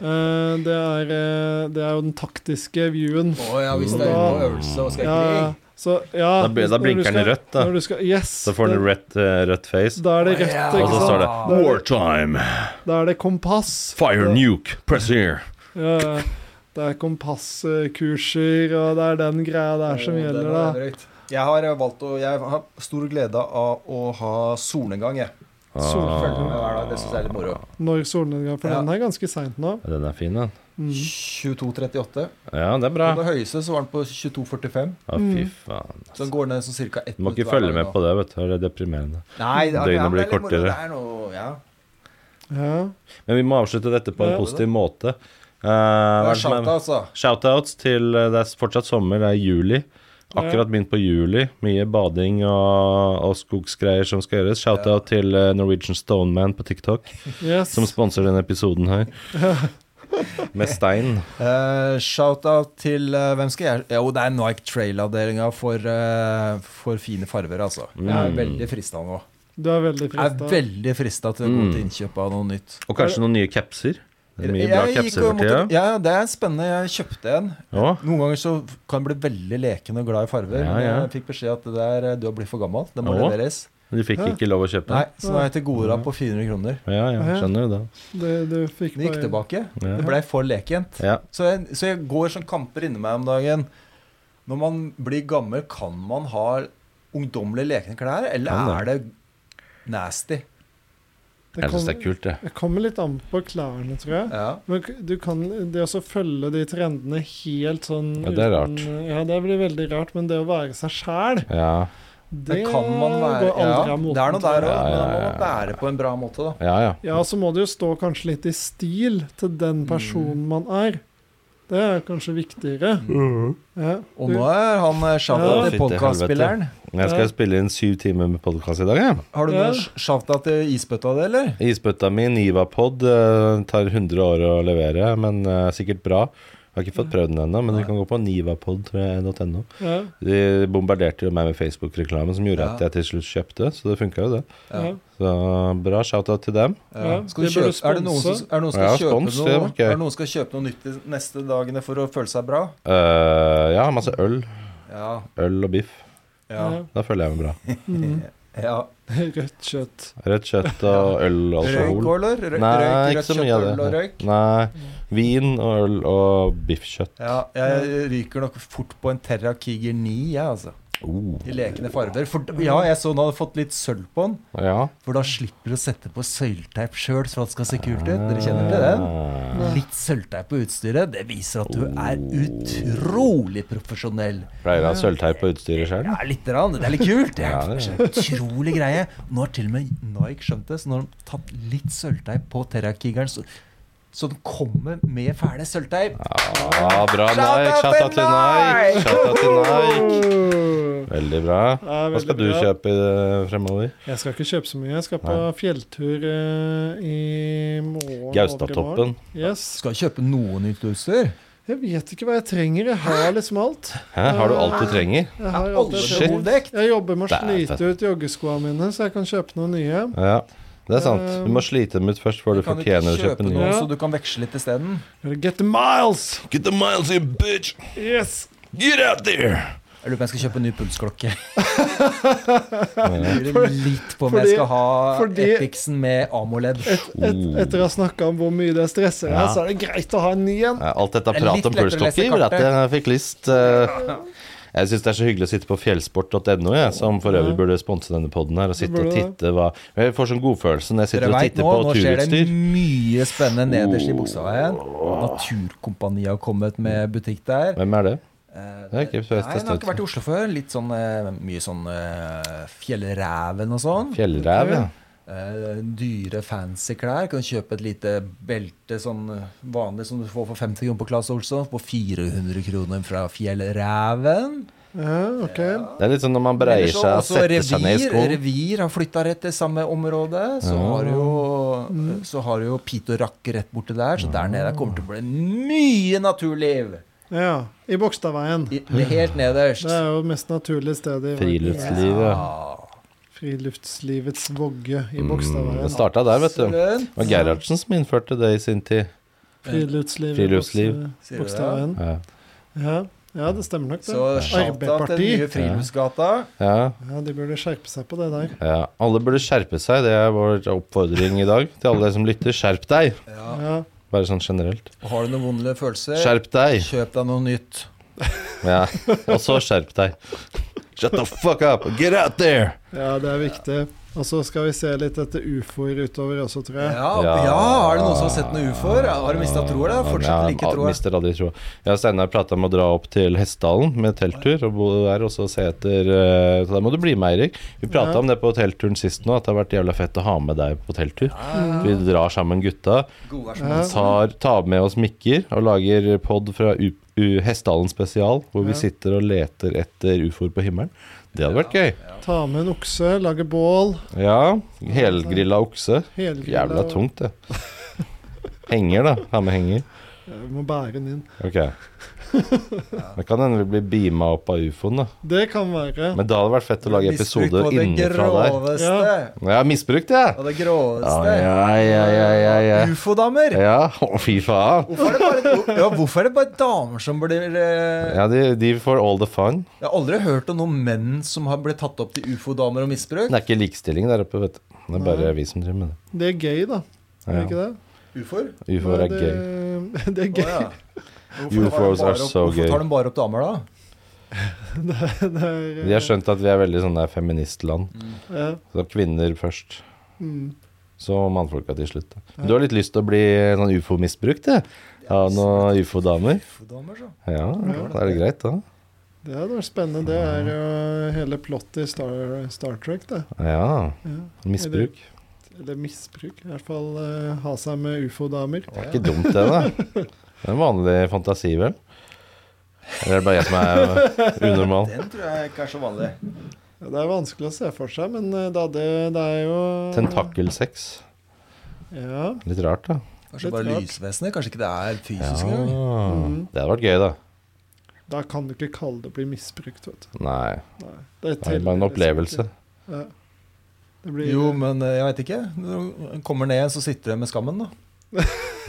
S3: eh, det, er, eh, det er jo den taktiske viewen.
S5: Å ja, hvis det er ute på øvelse og skal
S3: Ja,
S5: ikke
S3: ja. så, ja,
S4: Da blir- da
S3: når du
S4: blinker den
S3: skal-
S4: rødt, da.
S3: når du Skal, yes,
S4: Så får den
S3: det-
S4: rødt, eh, rødt face.
S3: Da er det rødt,
S5: Ja.
S3: ikke
S4: Og så står
S3: sant?
S4: det
S5: sant?
S4: Wartime!
S3: Da er det kompass.
S4: Fire nuke! Press here!
S3: Ja, ja. det er kompasskurser, og det er den greia der som
S5: Å,
S3: gjelder,
S5: den er
S3: da.
S5: drøyt. Jeg har valgt å Jeg har stor glede av å ha solnedgang, jeg. Følger med
S4: Ah,
S5: hver dag. Det syns jeg er litt moro.
S3: Når solnedgang For
S5: Ja.
S3: den er ganske seint nå.
S4: Ah, den er fin, den.
S3: Mm.
S5: 22.38.
S4: Ja, det er bra.
S5: På det høyeste så var den på 22.45.
S4: Å,
S3: Mm.
S4: fy faen.
S5: Så den går ned sånn ca. ett
S4: Du må ikke
S5: hver
S4: følge
S5: dag
S4: med
S5: nå.
S4: på det, vet du. Det er deprimerende.
S5: Nei, det er-
S4: Døgnet
S5: ja, men
S4: blir
S5: det er litt moro.
S4: kortere.
S5: Det er noe, ja.
S3: Ja.
S4: Men vi må avslutte dette på en
S3: Ja.
S4: positiv måte. Eh, hva er det som
S5: Shout,
S4: er-
S5: altså.
S4: Shoutouts til eh, Det er fortsatt sommer, det er juli. Akkurat begynt på juli. Mye bading og, og skogsgreier som skal gjøres. Shoutout til eh, Norwegian Stoneman på TikTok,
S3: Yes.
S4: som sponser denne episoden her. Med stein.
S5: Eh, Shout-out til eh, Hvem skal jeg Jo, det er Nike Trail-avdelinga for, eh, for fine farver, altså. Jeg er
S4: Mm.
S5: veldig frista nå.
S3: Du er
S5: Jeg
S3: veldig
S5: er
S3: frista.
S5: veldig frista til å gå
S4: Mm.
S5: til innkjøp av noe nytt.
S4: Og kanskje noen nye capser. Det er mye bra
S5: Jeg gikk
S4: capser
S5: og
S4: for tida.
S5: måtte- Ja, det er spennende. Jeg kjøpte en.
S4: Ja.
S5: Noen ganger så kan jeg bli veldig leken og glad i farver.
S4: Ja,
S5: men
S4: ja.
S5: Jeg fikk beskjed at det der, eh, du har blitt for gammel. Det må
S4: Å.
S5: leveres.
S4: Men du fikk ikke lov å kjøpe?
S5: Nei, så nå er jeg til gode da på 400 kroner.
S4: Ja, ja, skjønner jo det.
S3: Det, du fikk
S5: Det gikk
S3: bare
S5: tilbake.
S4: Ja.
S5: Det blei for lekent.
S4: Ja.
S5: Så jeg, så jeg går sånn kamper inni meg om dagen. Når man blir gammel, kan man ha ungdommelige lekne klær, eller
S4: Kan
S5: er det nasty?
S4: Jeg syns det er
S3: kom-
S4: kult, det.
S3: Det kommer litt an på klærne, tror jeg.
S5: Ja.
S3: Men k- du kan det å så følge de trendene helt sånn
S4: Ja, det er
S3: uten- Ja, det blir veldig rart, men det å være seg sjæl,
S4: Ja,
S3: det
S5: Det kan man være
S3: går aldri
S5: ja,
S3: av moten.
S5: Det er noe
S3: tror
S5: der
S3: jeg.
S5: òg,
S4: Ja,
S5: men da må
S4: ja,
S5: man være på en bra måte, da.
S4: ja. ja.
S3: Ja, så må det jo stå kanskje litt i stil til
S5: Mm.
S3: den personen man er. Det er kanskje viktigere.
S5: Mm.
S3: Ja,
S5: Og
S3: du-
S5: nå er han eh,
S3: Ja.
S5: shoutout til
S4: Fytti
S5: podkastspilleren.
S4: Men Jeg skal spille inn syv timer med podkast i dag, jeg.
S5: Har du
S3: Ja.
S5: noe sh- shoutout til isbøtta di, eller?
S4: Isbøtta mi, Nivapod, eh, tar 100 år å levere, men eh, sikkert bra. Jeg har ikke fått prøvd den ennå, men du kan gå på nivapod.no.
S3: ja,
S4: De bombarderte jo meg med Facebook-reklame, som gjorde at jeg til slutt kjøpte, så det funka jo, det.
S3: ja, ja.
S4: Så bra shout-out til dem.
S5: Ja.
S3: Ja,
S5: Skal du
S3: det burde
S5: kjøpe, er det noen som,
S3: sponse.
S5: er det noen som skal
S4: Ja,
S5: kjøpe
S4: spons, det
S5: noe
S4: var gøy.
S5: Er det noen som skal kjøpe noe nytt de neste dagene for å føle seg bra?
S4: Eh, ja, masse øl.
S5: Ja.
S4: Øl og biff.
S5: Ja.
S4: Da føler jeg meg bra.
S3: Mm.
S5: ja.
S3: Rødt kjøtt.
S4: Rødt kjøtt og øl og
S5: Røyk
S4: alkohol.
S5: og lør? Røyk,
S4: Nei,
S5: røyk,
S4: ikke
S5: rødt
S4: så mye
S5: kjøtt, øl
S4: av
S5: og
S4: det.
S5: røyk?
S4: Nei. Vin og øl og biffkjøtt.
S5: Ja, jeg ryker nok fort på en Terra Kiger 9, jeg, altså.
S4: Oh.
S5: I lekende farger. For, ja, jeg så den hadde fått litt sølv på den.
S4: Ja.
S5: For da slipper du å sette på sølvteip sjøl for at det skal se kult ut. Dere kjenner til den? Litt sølvteip på utstyret, det viser at du er utrolig profesjonell.
S4: Pleier å ha sølvteip på utstyret sjøl?
S5: Ja, litt. Rann. Det er litt kult. Det
S4: Ja,
S5: er
S4: det
S5: en utrolig greie. Nå har til og med Nike skjønt det, så nå har de tatt litt sølvteip på Terrakigeren. Så, så den kommer med fæle sølvteip.
S4: Ja, Ah, bra
S5: Shout
S4: Nike.
S5: out
S4: Shout
S5: til
S4: out til Nike.
S5: Nike!
S4: Shout out til Nike. Veldig bra.
S3: Ja,
S4: Hva skal
S3: veldig
S4: du
S3: bra.
S4: kjøpe eh, fremover?
S3: Jeg skal ikke kjøpe så mye. Jeg skal på
S4: Nei.
S3: fjelltur eh, i morgen.
S4: Gaustatoppen.
S3: overmorgen. Yes.
S5: Skal kjøpe noe nytt utstyr.
S3: Jeg vet ikke hva jeg trenger. Jeg har liksom alt.
S4: Hæ, har du alt du trenger?
S3: Jeg har
S5: Er
S3: alt
S5: alle
S3: jeg
S4: Shit.
S3: trenger.
S5: behovdekt?
S3: Jeg jobber med å
S4: Dæven.
S3: slite ut joggeskoene mine, så jeg kan kjøpe noen nye.
S4: Ja, det er sant. Du må slite dem ut først før
S5: Eh,
S4: du
S5: Kan du ikke
S4: fortjener å
S5: kjøpe
S4: kjøpe
S5: noe,
S4: nye.
S5: så du kan veksle litt isteden?
S3: Eller Get the miles!
S4: Get the miles, you bitch!
S3: Yes!
S4: Get out there!
S5: Jeg lurer på om jeg skal kjøpe en ny pulsklokke. Jeg lurer litt på om jeg
S3: fordi-
S5: skal ha
S3: fordi-
S5: Epicsen med amoled.
S3: Et, etter å ha snakka om hvor mye det stresser deg,
S4: Ja.
S3: så er det greit å ha en ny en.
S4: Ja, Alt dette
S5: Det er litt
S4: pratet om
S5: lettere å
S4: pulsklokker
S5: lese
S4: gjorde at
S5: kartet.
S4: jeg fikk lyst eh, Jeg syns det er så hyggelig å sitte på fjellsport.no, jeg, som for øvrig burde sponse denne poden her, og sitte og
S3: Burde det.
S4: titte hva Jeg får sånn godfølelse når jeg
S5: Dere
S4: sitter og
S5: vet
S4: titter
S5: nå,
S4: på
S5: nå skjer det
S4: turutstyr.
S5: mye spennende nederst i Bogstadveien. Naturkompaniet har kommet med butikk der.
S4: Hvem er det?
S5: Eh,
S4: Det har ikke jeg
S5: Nei,
S4: testet
S5: den har
S4: ut.
S5: ikke vært i Oslo før. Litt sånn eh, mye sånn eh, Fjellreven og sånn.
S4: Fjellrev, ja.
S5: Eh, dyre, fancy klær. Kan kjøpe et lite belte sånn eh, vanlig som du får for 50 kroner på Claes Olsson. På 400 kroner fra Fjellreven.
S3: Ja, ok.
S4: Det er litt sånn når man breier
S5: Ellers så
S4: seg og
S5: også
S4: setter seg ned i
S5: revir,
S4: skoen.
S5: revir har flytta rett til samme område. Så har jo, så har jo Pito Rack rett borte der. Så der nede kommer det til å bli mye naturliv.
S3: Ja, I Bogstadveien.
S5: I, helt nederst.
S3: Det er jo det mest naturlige stedet i
S4: Friluftslivet.
S3: Friluftslivets vogge
S4: Mm.
S3: i
S4: Det
S3: Bogstadveien.
S4: starta der, vet du.
S5: Absolutt.
S4: Det var Gerhardsen som innførte det i sin tid.
S3: Friluftsliv. i
S4: Friluftsliv.
S3: Bogstad-
S5: Sier du det?
S3: Bogstadveien.
S4: Ja.
S3: Ja. ja, det stemmer nok,
S5: Så
S3: det.
S5: shout-out til
S3: Arbeiderparti.
S5: nye Friluftsgata.
S4: ja.
S3: Ja, De burde skjerpe seg på det der.
S4: ja. Alle burde skjerpe seg, det er vår oppfordring i dag til alle dere som lytter. Skjerp deg!
S5: Ja.
S3: Ja.
S4: Bare sånn generelt.
S5: Har du noen vonde følelser,
S4: Skjerp deg!
S5: kjøp deg noe nytt.
S4: Ja. Og så skjerp deg. Shut the fuck up! Get out there!
S3: ja, det er viktig. Og så skal vi se litt etter ufoer utover også, tror jeg.
S5: Ja, Ah, ja. er det noen som har sett noen ufoer? Har du mista troa? da? Fortsatt
S4: Ja,
S5: like
S4: jeg
S5: troa.
S4: Mister aldri troa. Jeg og Steinar prata om å dra opp til Hessdalen med telttur og bo der og så se etter eh, Så da må du bli med, Eirik. Vi prata
S3: Ja.
S4: om det på teltturen sist nå, at det har vært jævla fett å ha med deg på telttur. Vi drar sammen gutta,
S5: God vær Ah, så
S3: Ja.
S4: tar, tar med oss mikker og lager pod fra U U Hessdalen spesial, hvor vi
S3: Ja.
S4: sitter og leter etter ufoer på himmelen. Det hadde vært gøy.
S3: Ta med en okse, lage bål.
S4: Ja. Helgrilla okse.
S3: Helgrilla
S4: Jævla tungt, det. Henger, da. Ha med henger.
S3: Vi må bære den inn.
S4: Ok. Det kan hende vi blir beama opp av ufoen, da.
S3: Det kan være.
S4: Men da hadde det vært fett å lage episoder
S5: Misbrukt på det
S4: innenfra der.
S5: groveste.
S4: Jeg har misbrukt det, jeg.
S5: Og det groveste.
S4: Ja, ja, ja, ja, ja.
S5: Ufo-damer!
S4: Ja, å, fy faen.
S5: Hvorfor, er det bare- ja, hvorfor er det bare damer som blir eh,
S4: Ja, de, de får all the fun.
S5: Jeg har aldri hørt om noen menn som har blitt tatt opp til ufo-damer og misbruk.
S4: Det er ikke likestilling der oppe, vet du. Det er bare vi som driver med det.
S3: Det er gøy, da. Er det
S4: Ja.
S3: ikke det?
S5: Ufoer?
S4: Ufoer
S3: Nei,
S4: er
S3: det,
S4: gøy.
S3: Det er
S5: Å,
S3: gøy.
S5: ja. Hvorfor
S4: Ufos
S5: tar de bare
S4: are
S5: opp-
S4: so
S5: Hvorfor
S4: gay.
S5: tar de bare opp damer, da?
S3: Det er,
S4: De har skjønt at vi er veldig sånn der feministland.
S5: Mm.
S3: ja.
S4: Så kvinner først.
S3: Mm.
S4: Så mannfolka til slutt. Men Du har litt lyst til å bli sånn ufo-misbrukt, du? Av noen ufo-damer?
S5: Ufo-damer, så.
S4: Ja, da er det greit, da.
S3: Det hadde vært spennende. Det er jo hele plottet i Star, Star Trek, det.
S4: Ja.
S3: Ja.
S4: Misbruk.
S3: Eller misbruk. I hvert fall eh, ha seg med ufo-damer.
S4: Det er ikke dumt, det, da. Det er en vanlig fantasi, vel? Eller er det bare jeg som er unormal?
S1: Den tror jeg ikke er så vanlig.
S3: Ja, Det er vanskelig å se for seg, men eh, da det, det er jo
S4: Tentakelsex.
S3: Ja.
S4: Litt rart, da.
S5: Kanskje
S3: Litt
S5: bare
S3: rart.
S5: lysvesenet? Kanskje ikke det er
S4: Ja.
S5: fysisk engang?
S4: Det hadde vært gøy, da.
S3: Da kan du ikke kalle det å bli misbrukt, vet du.
S4: Nei.
S3: Nei.
S4: Det
S3: Det
S4: er bare en
S3: teller
S4: opplevelse.
S3: liksom ikke. Ja. Det blir,
S5: Jo, men eh, jeg veit ikke. Når du kommer ned igjen, så sitter du med skammen, da.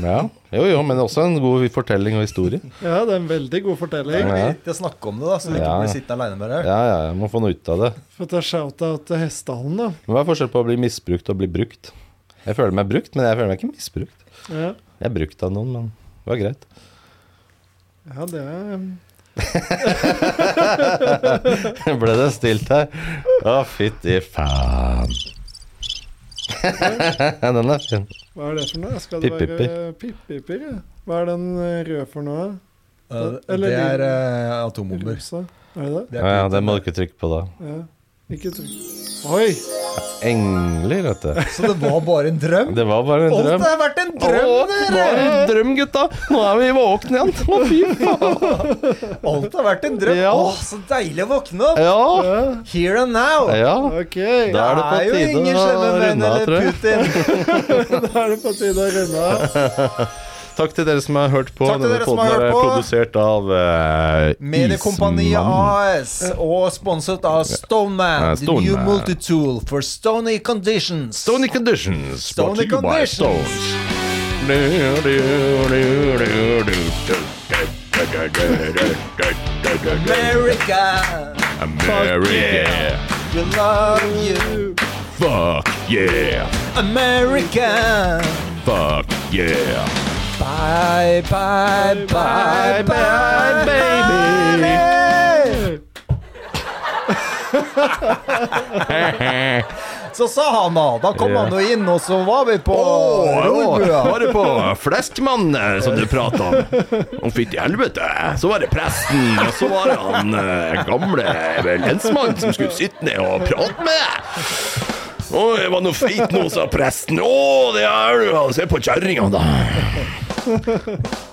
S4: Ja. Jo, jo, men også en god fortelling og historie.
S3: Ja, det er en veldig god
S5: Det
S3: fortelling.
S5: er
S4: Ja.
S5: viktig å snakke om det, da, så du ikke
S4: Ja.
S5: blir sittende aleine med det.
S4: Ja, ja, jeg må få noe ut av det.
S3: Få ta shout-out til Hestehallen, da.
S4: Men hva er forskjellen på å bli misbrukt og bli brukt? Jeg føler meg brukt, men jeg føler meg ikke misbrukt.
S3: Ja,
S4: Jeg er brukt av noen, men det var greit.
S3: ja det er
S4: Ble det stilt her? Å, fytti faen. Den er fin.
S3: Hva er det for noe? Skal det
S4: Pip-pipper.
S3: være pip-pipper? ja. Hva er den eh, røde for noe?
S5: Eh,
S3: Eller
S5: Det er eh,
S3: I
S5: atombomber.
S3: Rosa? Er det det?
S5: Det
S4: Ja,
S5: er
S4: ja,
S5: kult.
S4: den må du ikke trykke på da.
S3: Ja. Ikke tro Oi!
S4: Engler, vet du.
S5: Så det var bare en drøm?
S4: Det var bare en
S5: Alt
S4: drøm.
S5: har vært en
S4: Å,
S5: drøm!
S4: det var en drøm, gutta! Nå er vi våkne igjen. Å, fy faen.
S5: Alt har vært en drøm.
S4: Ja.
S5: Åh, så deilig å våkne opp!
S4: Ja.
S3: Ja,
S5: Here and now!
S4: ja.
S3: OK.
S4: Da er det på
S5: jo
S4: tide
S5: ingen
S4: å
S5: slemme menn
S4: runde av, tror
S5: eller
S4: jeg.
S5: Putin.
S3: Da er det på tide å runde av.
S4: Takk til dere som har hørt på.
S5: Takk til
S4: Denne
S5: dere som
S4: podden
S5: har
S4: er
S5: hørt på.
S4: produsert av uh,
S5: Mediekompaniet AS og sponset av
S4: Ja,
S5: Stoneman. The
S4: Stoneman.
S5: new multitool for stony conditions.
S4: Stony Conditions. brought
S5: Stony
S4: to you by
S5: Conditions.
S4: Stones. Du, du, du, du, du, du, du, du, du, du, du, du.
S5: America,
S4: America. Yeah.
S5: we love you.
S4: Fuck yeah.
S5: America.
S4: Fuck yeah.
S5: Bye, bye, bye, bye,
S4: Bye, baby.
S5: Så sa han da. Da kom
S4: Ja.
S5: han jo inn, og så var vi på Rorbua.
S4: var det på Fleskmann eh, som du prata om? Å, fytti helvete. Så var det presten, og så var det han eh, gamle eh, lensmannen som skulle sitte ned og prate med deg. Å, jeg var noe altså. feit nå, sa presten. Å, det er du. ja. Se på kjerringa, da.